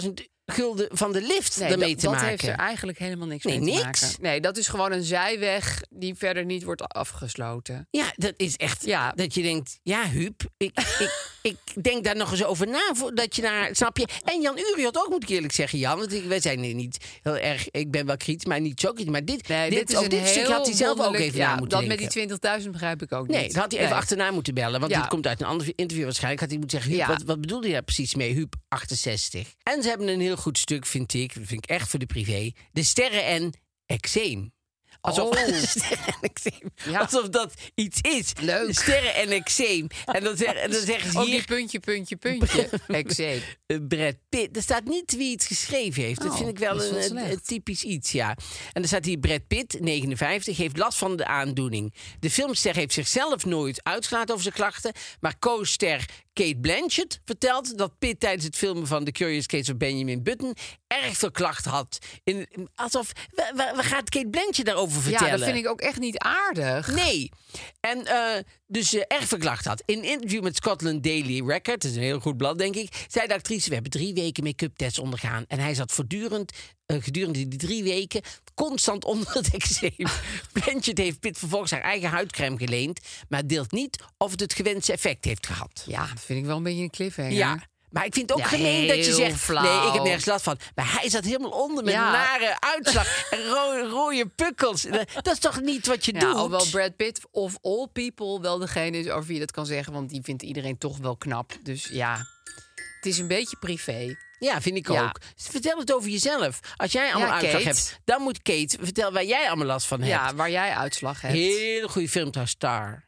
S2: 20.000 gulden van de lift
S4: nee,
S2: daarmee
S4: dat,
S2: te
S4: dat
S2: maken?
S4: heeft er eigenlijk helemaal niks
S2: Nee,
S4: mee te
S2: niks.
S4: maken. Nee, dat is gewoon een zijweg die verder niet wordt afgesloten.
S2: Ja, dat is echt.
S4: Ja.
S2: Dat je denkt, ja, Huub, ik, ik, ik denk daar nog eens over na. Dat je daar, snap je? En Jan Uriot ook, moet ik eerlijk zeggen, Jan. Want ik, wij zijn hier niet heel erg. Ik ben wel kritisch, maar niet zo kritisch. Maar dit,
S4: Nee,
S2: dit, ook dit stukje had hij zelf ook
S4: wonderlijk-
S2: even
S4: ja,
S2: na moeten
S4: Dat
S2: denken.
S4: met die 20.000 begrijp ik ook niet.
S2: Nee, dat had hij even
S4: Nee.
S2: achterna moeten bellen. Want
S4: Ja.
S2: dit komt uit een ander interview waarschijnlijk. Had hij moeten zeggen, Huub,
S4: Ja.
S2: wat, wat bedoelde je daar precies mee? Huub, 68. En ze hebben een heel goed stuk, vind ik. Dat vind ik echt voor de privé. De sterren en eczeem. Alsof,
S4: Oh.
S2: de sterren en eczeem.
S4: Ja.
S2: Alsof dat iets is.
S4: Leuk.
S2: Sterren en eczeem. En dan, zeg- en dan zeggen ze
S4: Ook
S2: hier...
S4: die puntje, puntje, puntje. Exeem.
S2: eh, Brad Pitt. Er staat niet wie het geschreven heeft. dat
S4: Oh,
S2: vind ik wel
S4: dat is
S2: een,
S4: wel
S2: een-
S4: slecht.
S2: een typisch iets, ja. En er staat hier Brad Pitt, 59, heeft last van de aandoening. De filmster heeft zichzelf nooit uitgelaten over zijn klachten. Maar co-ster Kate Blanchett vertelt dat Pitt tijdens het filmen van The Curious Case of Benjamin Button erg veel klachten had. In, alsof, waar, waar- waar gaat Kate Blanchett daarover vertellen?
S4: Ja, dat vind ik ook echt niet aardig.
S2: Nee. En eh, dus eh erg verklacht had. In een interview met Scotland Daily Record, dat is een heel goed blad, denk ik, zei de actrice: We hebben drie weken make-up tests ondergaan. En hij zat voortdurend, eh, gedurende die drie weken, constant onder het eczeem. Blanchett heeft Pitt vervolgens haar eigen huidcrème geleend, maar deelt niet of het het gewenste effect heeft gehad.
S4: Ja, dat vind ik wel een beetje een cliffhanger.
S2: Ja. Maar ik vind het ook
S4: Ja,
S2: gemeen dat je
S4: heel
S2: zegt... Nee, ik heb
S4: flauw.
S2: nergens last van. Maar hij zat helemaal onder met
S4: Ja.
S2: nare uitslag en ro- rode pukkels. Dat, dat is toch niet wat je
S4: Ja,
S2: doet?
S4: hoewel Brad Pitt of all people wel degene is over wie je dat kan zeggen. Want die vindt iedereen toch wel knap. Dus ja, het is een beetje privé.
S2: Ja, vind ik
S4: Ja.
S2: ook. Vertel het over jezelf. Als jij allemaal
S4: Ja,
S2: uitslag
S4: Kate.
S2: hebt, dan moet Kate vertellen waar jij allemaal last van hebt.
S4: Ja, waar jij uitslag hebt.
S2: Hele goede film trouwens, Tar.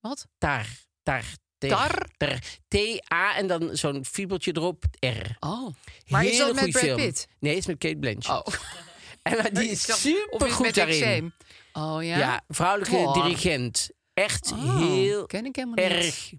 S4: Wat?
S2: Tar. Tar. Ter-
S4: Tar?
S2: ter- T-A en dan zo'n fiebeltje erop, R.
S4: Oh, maar
S2: Hele
S4: is dat met
S2: goeie
S4: Brad
S2: film.
S4: Pitt?
S2: Nee, het is met Kate Blanchett.
S4: Oh.
S2: En maar die
S4: Ik
S2: is
S4: dacht, of
S2: super
S4: is het
S2: goed
S4: met
S2: daarin.
S4: eczeem? Oh ja?
S2: Ja, vrouwelijke
S4: Goh.
S2: dirigent. Echt
S4: Oh,
S2: heel
S4: ken ik helemaal niet.
S2: erg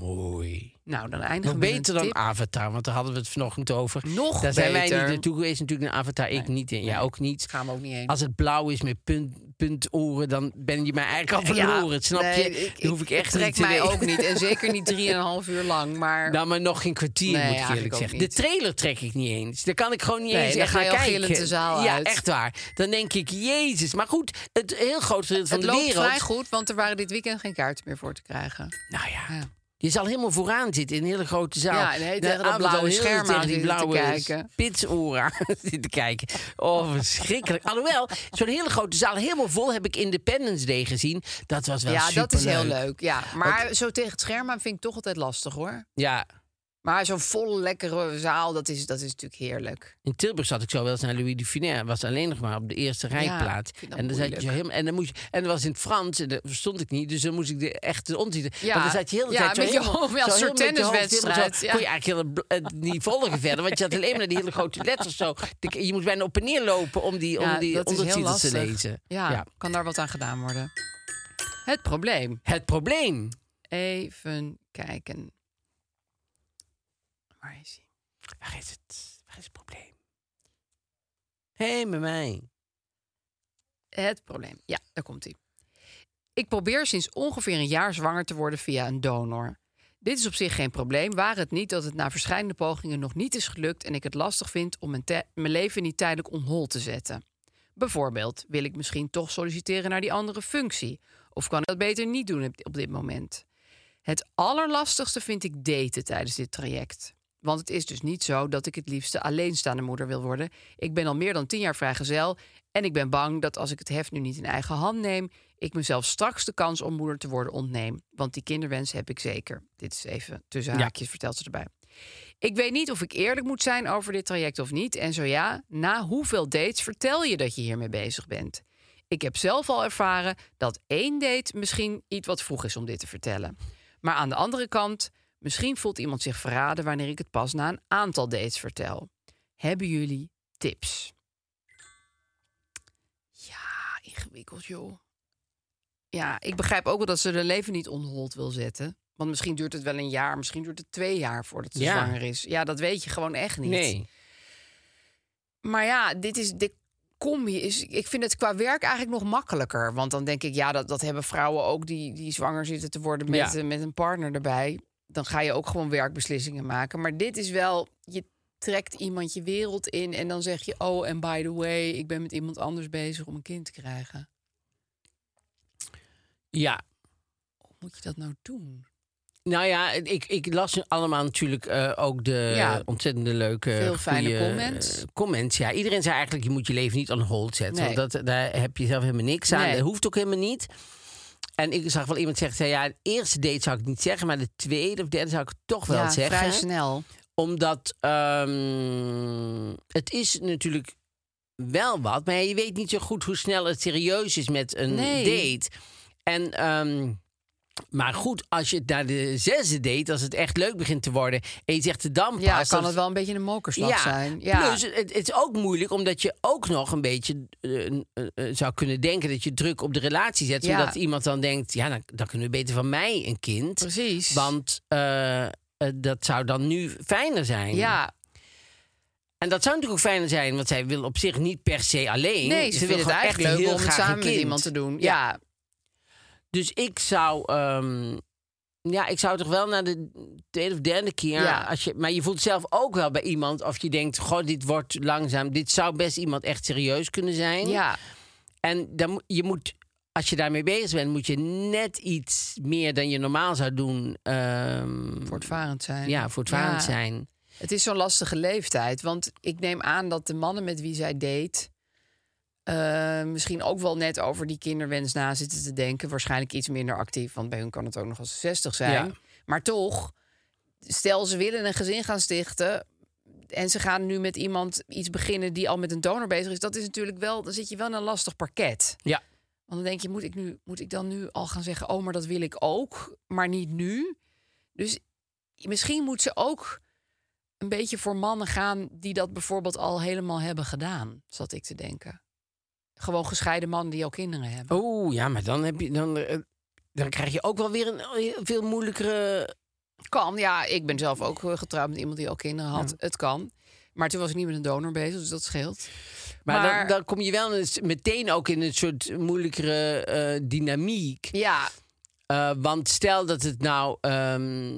S2: mooi.
S4: Nou, dan eindigen
S2: Nog
S4: we met
S2: beter
S4: een
S2: dan
S4: tip.
S2: Avatar, want daar hadden we het vanochtend over.
S4: Nog
S2: Daar zijn wij
S4: beter.
S2: niet naartoe geweest natuurlijk naar Avatar. Ik niet. en Jij ook niet.
S4: Gaan we ook niet heen.
S2: Als het blauw is met punt, puntoren, dan ben je mij eigenlijk al
S4: Ja,
S2: verloren. Het snap
S4: nee,
S2: je? Dan hoef ik echt
S4: trek
S2: niet te
S4: mij
S2: weten.
S4: ook niet. En zeker niet drieënhalf uur lang. Maar
S2: Nou, maar nog geen kwartier,
S4: Nee,
S2: moet ik
S4: eigenlijk
S2: eerlijk
S4: ook
S2: zeggen.
S4: niet.
S2: De trailer trek ik niet eens. Daar kan ik gewoon niet
S4: Nee,
S2: eens
S4: dan
S2: echt
S4: ga je
S2: naar
S4: al
S2: kijken.
S4: gillend de zaal
S2: ja,
S4: uit.
S2: echt waar. Dan denk ik, jezus. Maar goed, het heel groot gedeelte van
S4: het
S2: de
S4: loopt
S2: wereld...
S4: vrij goed, want er waren dit weekend geen kaarten meer voor te krijgen.
S2: Nou ja.
S4: Ja.
S2: Je zal helemaal vooraan zitten in een hele grote zaal.
S4: Ja, en de hele
S2: De
S4: tegen dat
S2: avond
S4: blauwe
S2: al heel
S4: scherm
S2: tegen
S4: aan
S2: die
S4: zitten te
S2: blauwe
S4: kijken.
S2: spitsoren aan zitten kijken. Oh, verschrikkelijk. Alhoewel, zo'n hele grote zaal helemaal vol heb ik Independence Day gezien. Dat was wel
S4: ja, dat is heel
S2: Nou, superleuk.
S4: leuk. Ja. Maar zo tegen het scherm aan vind ik toch altijd lastig hoor.
S2: Ja,
S4: Maar zo'n volle, lekkere zaal, dat is, dat is natuurlijk heerlijk.
S2: in Tilburg zat ik zo wel eens naar Louis Dufinet. Was alleen nog maar op de eerste rijplaats.
S4: ik vind dat
S2: en dan zat je
S4: moeilijk.
S2: zo helemaal. En dan moest je, en dat was in het Frans. En dat verstond ik niet. Dus dan moest ik de echte ondertitel.
S4: Ja,
S2: maar dan zat je heel de
S4: ja,
S2: tijd zo
S4: met je
S2: helemaal-
S4: hoofd, ja,
S2: zo
S4: een
S2: heel
S4: soort
S2: met je hoofd helemaal
S4: tenniswedstrijd,
S2: zo-
S4: ja.
S2: Kon je eigenlijk heel, het niet volgen verder. Want je had alleen maar die hele grote letters zo. De- Je moest bijna op en neer lopen om die,
S4: ja,
S2: om die
S4: dat is heel
S2: ondertitels
S4: lastig.
S2: te lezen.
S4: Ja, kan daar wat aan gedaan worden. Het probleem.
S2: Het probleem.
S4: Even kijken. Waar is hij?
S2: Waar is het? Waar is het probleem? Hé, hey, met mij.
S4: Het probleem. Ja, daar komt hij. Ik probeer sinds ongeveer een jaar zwanger te worden via een donor. Dit is op zich geen probleem, waar het niet dat het na verschillende pogingen nog niet is gelukt en ik het lastig vind om mijn, te- mijn leven niet tijdelijk on hold te zetten. Bijvoorbeeld, wil ik misschien toch solliciteren naar die andere functie? Of kan ik dat beter niet doen op- op dit moment? Het allerlastigste vind ik daten tijdens dit traject. Want het is dus niet zo dat ik het liefste alleenstaande moeder wil worden. Ik ben al meer dan tien jaar vrijgezel. En ik ben bang dat als ik het heft nu niet in eigen hand neem, ik mezelf straks de kans om moeder te worden ontneem. Want die kinderwens heb ik zeker. Dit is even tussen
S2: Ja.
S4: haakjes, vertelt ze erbij. Ik weet niet of ik eerlijk moet zijn over dit traject of niet. En zo ja, na hoeveel dates vertel je dat je hiermee bezig bent? Ik heb zelf al ervaren dat één date misschien iets wat vroeg is om dit te vertellen. Maar aan de andere kant, misschien voelt iemand zich verraden wanneer ik het pas na een aantal dates vertel. Hebben jullie tips? Ja, ingewikkeld joh. Ja, ik begrijp ook wel dat ze hun leven niet on hold wil zetten. Want misschien duurt het wel een jaar, misschien duurt het twee jaar voordat ze
S2: Ja.
S4: zwanger is. Ja, dat weet je gewoon echt niet.
S2: Nee.
S4: Maar ja, dit is de combi. Is, ik vind het qua werk eigenlijk nog makkelijker. Want dan denk ik, ja, dat, dat hebben vrouwen ook die, die zwanger zitten te worden met,
S2: Ja.
S4: eh, met een partner erbij. Dan ga je ook gewoon werkbeslissingen maken. Maar dit is wel, je trekt iemand je wereld in en dan zeg je, oh, en by the way, ik ben met iemand anders bezig om een kind te krijgen.
S2: Ja.
S4: Hoe moet je dat nou doen?
S2: Nou ja, ik, ik las allemaal natuurlijk eh, ook de
S4: Ja.
S2: ontzettende leuke...
S4: Veel fijne
S2: goeie,
S4: comments.
S2: eh, comments, ja. Iedereen zei eigenlijk, je moet je leven niet on hold zetten.
S4: Nee.
S2: Want dat, daar heb je zelf helemaal niks aan.
S4: Nee.
S2: Dat hoeft ook helemaal niet. En ik zag wel iemand zeggen, zei, ja, de eerste date zou ik niet zeggen... maar de tweede of derde zou ik toch wel
S4: ja,
S2: zeggen.
S4: vrij snel.
S2: Omdat ehm, het is natuurlijk wel wat, maar je weet niet zo goed hoe snel het serieus is met een
S4: Nee.
S2: date. En, ehm, maar goed, als je het naar de zesde date, als het echt leuk begint te worden en je zegt de dan pas,
S4: Ja, kan
S2: dan-
S4: het wel een beetje een mokerslag zijn. Ja,
S2: Plus, het, het is ook moeilijk omdat je ook nog een beetje eh, eh, eh, zou kunnen denken dat je druk op de relatie zet.
S4: Ja.
S2: Zodat iemand dan denkt: ja, dan, dan kunnen we beter van mij een kind.
S4: precies.
S2: Want eh, eh, dat zou dan nu fijner zijn.
S4: ja,
S2: En dat zou natuurlijk ook fijner zijn, want zij wil op zich niet per se alleen.
S4: nee, ze,
S2: wil
S4: vinden het
S2: gewoon echt
S4: eigenlijk leuk
S2: heel
S4: om het
S2: graag een
S4: samen met
S2: kind.
S4: iemand te doen.
S2: Ja.
S4: ja.
S2: Dus ik zou, ehm, ja, ik zou toch wel naar de tweede of derde keer.
S4: Ja.
S2: Als je, maar je voelt zelf ook wel bij iemand of je denkt, goh, dit wordt langzaam. Dit zou best iemand echt serieus kunnen zijn.
S4: ja.
S2: En dan, mo- je moet, als je daarmee bezig bent, moet je net iets meer dan je normaal zou doen. ehm,
S4: voortvarend zijn.
S2: ja, voortvarend
S4: Ja.
S2: zijn.
S4: Het is zo'n lastige leeftijd. Want ik neem aan dat de mannen met wie zij date... eh, misschien ook wel net over die kinderwens na zitten te denken. Waarschijnlijk iets minder actief, want bij hun kan het ook nog als ze 60 zijn.
S2: Ja.
S4: Maar toch, stel ze willen een gezin gaan stichten... en ze gaan nu met iemand iets beginnen die al met een donor bezig is... dat is natuurlijk wel, dan zit je wel in een lastig parket.
S2: Ja.
S4: Want dan denk je, moet ik, nu, moet ik dan nu al gaan zeggen... oh, maar dat wil ik ook, maar niet nu? Dus misschien moet ze ook een beetje voor mannen gaan... die dat bijvoorbeeld al helemaal hebben gedaan, zat ik te denken. Gewoon gescheiden mannen die al kinderen hebben.
S2: Oh ja, maar dan, heb je, dan, eh, dan krijg je ook wel weer een eh, veel moeilijkere.
S4: Kan, ja. Ik ben zelf ook eh, getrouwd met iemand die al kinderen had. Het kan. Maar toen was ik niet met een donor bezig, dus dat scheelt.
S2: Maar,
S4: Maar-
S2: Dan, dan kom je wel eens meteen ook in een soort moeilijkere eh, dynamiek.
S4: Ja,
S2: Eh, want stel dat het nou. ehm,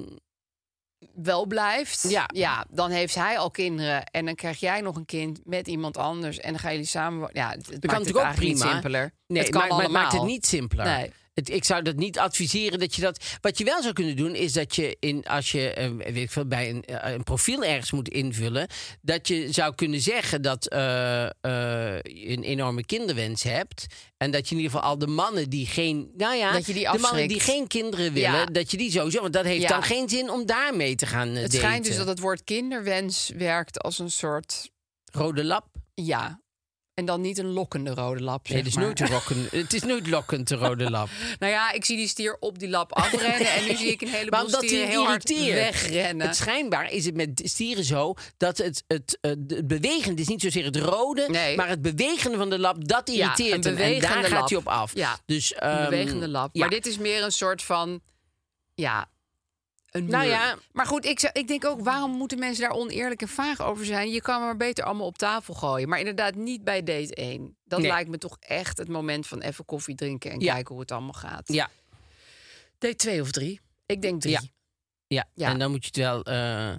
S4: wel blijft.
S2: Ja.
S4: ja, dan heeft hij al kinderen. En dan krijg jij nog een kind met iemand anders. En dan gaan jullie samen... wo- Ja, het, het maakt
S2: kan
S4: het
S2: natuurlijk ook
S4: eigenlijk
S2: prima.
S4: niet simpeler.
S2: nee,
S4: het kan
S2: maar, maar het
S4: allemaal.
S2: maakt het niet simpeler.
S4: Nee.
S2: Het, ik zou dat niet adviseren dat je dat. Wat je wel zou kunnen doen, is dat je in, als je eh, weet ik veel, bij een, eh, een profiel ergens moet invullen. Dat je zou kunnen zeggen dat eh, eh, je een enorme kinderwens hebt. En dat je in ieder geval al de mannen die geen. Nou ja,
S4: Dat je die
S2: de mannen die
S4: afschrikt.
S2: geen kinderen willen,
S4: Ja.
S2: dat je die sowieso. Want dat heeft
S4: Ja.
S2: dan geen zin om daarmee te gaan. eh,
S4: Het schijnt dus
S2: daten.
S4: dat het woord kinderwens werkt als een soort...
S2: Rode lap.
S4: Ja. En dan niet een lokkende rode lap,
S2: Nee,
S4: zeg
S2: het is,
S4: maar.
S2: nooit rokken, het is nooit lokkend, de rode lap.
S4: Nou ja, ik zie die stier op die lap afrennen. En nu zie ik een
S2: Maar
S4: heleboel
S2: omdat hij
S4: stieren
S2: het
S4: heel hard
S2: irriteert.
S4: wegrennen.
S2: Het schijnbaar is het met stieren zo dat het, het, eh, de- het bewegende is niet zozeer het rode,
S4: Nee.
S2: maar het bewegende van de lap, dat
S4: Ja,
S2: irriteert
S4: een
S2: hem. En daar
S4: bewegende
S2: gaat
S4: lap.
S2: hij op af.
S4: Ja,
S2: dus,
S4: Een
S2: ehm,
S4: bewegende lap.
S2: ja.
S4: Maar dit is meer een soort van... Ja, een
S2: Nou
S4: muur.
S2: ja.
S4: Maar goed, ik, zou- ik denk ook... waarom moeten mensen daar oneerlijk en vaag over zijn? Je kan maar beter allemaal op tafel gooien. Maar inderdaad niet bij date 1. Dat
S2: Nee.
S4: lijkt me toch echt het moment van even koffie drinken... en
S2: Ja.
S4: kijken hoe het allemaal gaat.
S2: ja,
S4: Date 2 of 3? Ik denk 3.
S2: Ja. ja.
S4: Ja.
S2: en dan moet je het wel... eh,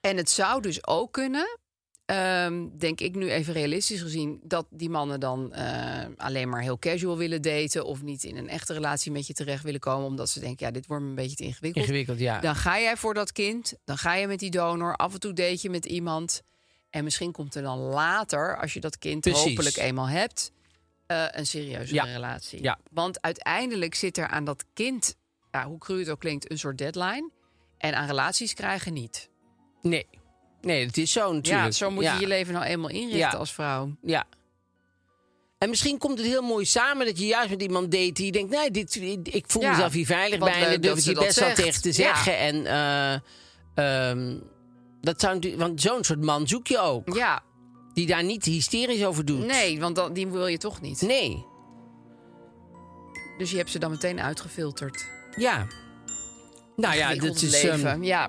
S4: En het zou dus ook kunnen, ehm, denk ik nu even realistisch gezien, dat die mannen dan eh, alleen maar heel casual willen daten of niet in een echte relatie met je terecht willen komen, omdat ze denken, ja, dit wordt me een beetje te ingewikkeld.
S2: ingewikkeld, ja.
S4: Dan ga jij voor dat kind, dan ga je met die donor, af en toe date je met iemand. En misschien komt er dan later, als je dat kind
S2: Precies.
S4: hopelijk eenmaal hebt, eh, een serieuze
S2: Ja.
S4: relatie.
S2: Ja.
S4: Want uiteindelijk zit er aan dat kind, ja, hoe cru het ook klinkt, een soort deadline. En aan relaties krijgen niet.
S2: Nee. Nee, dat is zo natuurlijk.
S4: Ja, zo moet je je leven nou eenmaal inrichten
S2: Ja.
S4: als vrouw.
S2: Ja. En misschien komt het heel mooi samen dat je juist met iemand date die je denkt, nee, dit, ik voel
S4: Ja,
S2: mezelf hier veilig
S4: wat
S2: bij.
S4: leuk
S2: En
S4: dat
S2: dat
S4: ze
S2: je
S4: dat
S2: best wel
S4: zegt.
S2: tegen te
S4: Ja.
S2: zeggen. En eh, ehm, dat zou natuurlijk, want zo'n soort man zoek je ook.
S4: Ja,
S2: Die daar niet hysterisch over doet.
S4: nee, want dan, die wil je toch niet.
S2: Nee.
S4: Dus je hebt ze dan meteen uitgefilterd.
S2: Ja. Nou ja, dit
S4: Ingewikkeld
S2: is,
S4: leven.
S2: ehm,
S4: ja,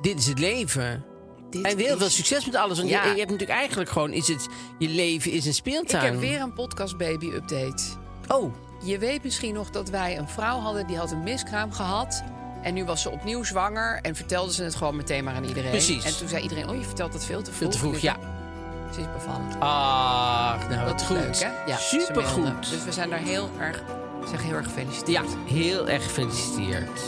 S2: dit is het leven.
S4: dit
S2: en heel
S4: is-
S2: veel succes met alles. Want
S4: Ja.
S2: je, je hebt natuurlijk eigenlijk gewoon, is het, je leven is een
S4: Ik
S2: speeltuin.
S4: heb weer een podcast baby update.
S2: Oh,
S4: Je weet misschien nog dat wij een vrouw hadden die had een miskraam gehad. En nu was ze opnieuw zwanger en vertelde ze het gewoon meteen maar aan iedereen.
S2: Precies.
S4: En toen zei iedereen, oh je vertelt dat veel te vroeg.
S2: veel te vroeg,
S4: Dus
S2: ja.
S4: Ze is bevallen.
S2: Ach, nou
S4: dat
S2: wat
S4: is
S2: goed.
S4: leuk, hè? Ja, ze mailde.
S2: Supergoed.
S4: Dus we zijn daar heel erg, zeg heel erg gefeliciteerd.
S2: Ja, heel erg gefeliciteerd.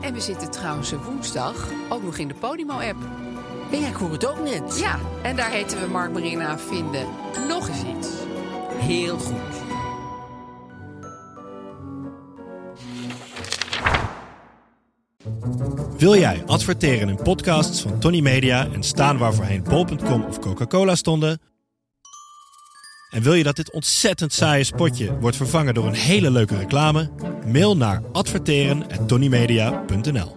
S4: En we zitten trouwens woensdag ook nog in de Podimo-app.
S2: Hey, ja, ik hoor het ook net.
S4: Ja, en daar heten we Mark Marina Vinden. Nog eens iets.
S2: Heel goed.
S5: Wil jij adverteren in podcasts van Tony Media en staan waar voorheen bol.com of Coca-Cola stonden? En wil je dat dit ontzettend saaie spotje wordt vervangen door een hele leuke reclame? Mail naar adverteren@tonymedia.nl.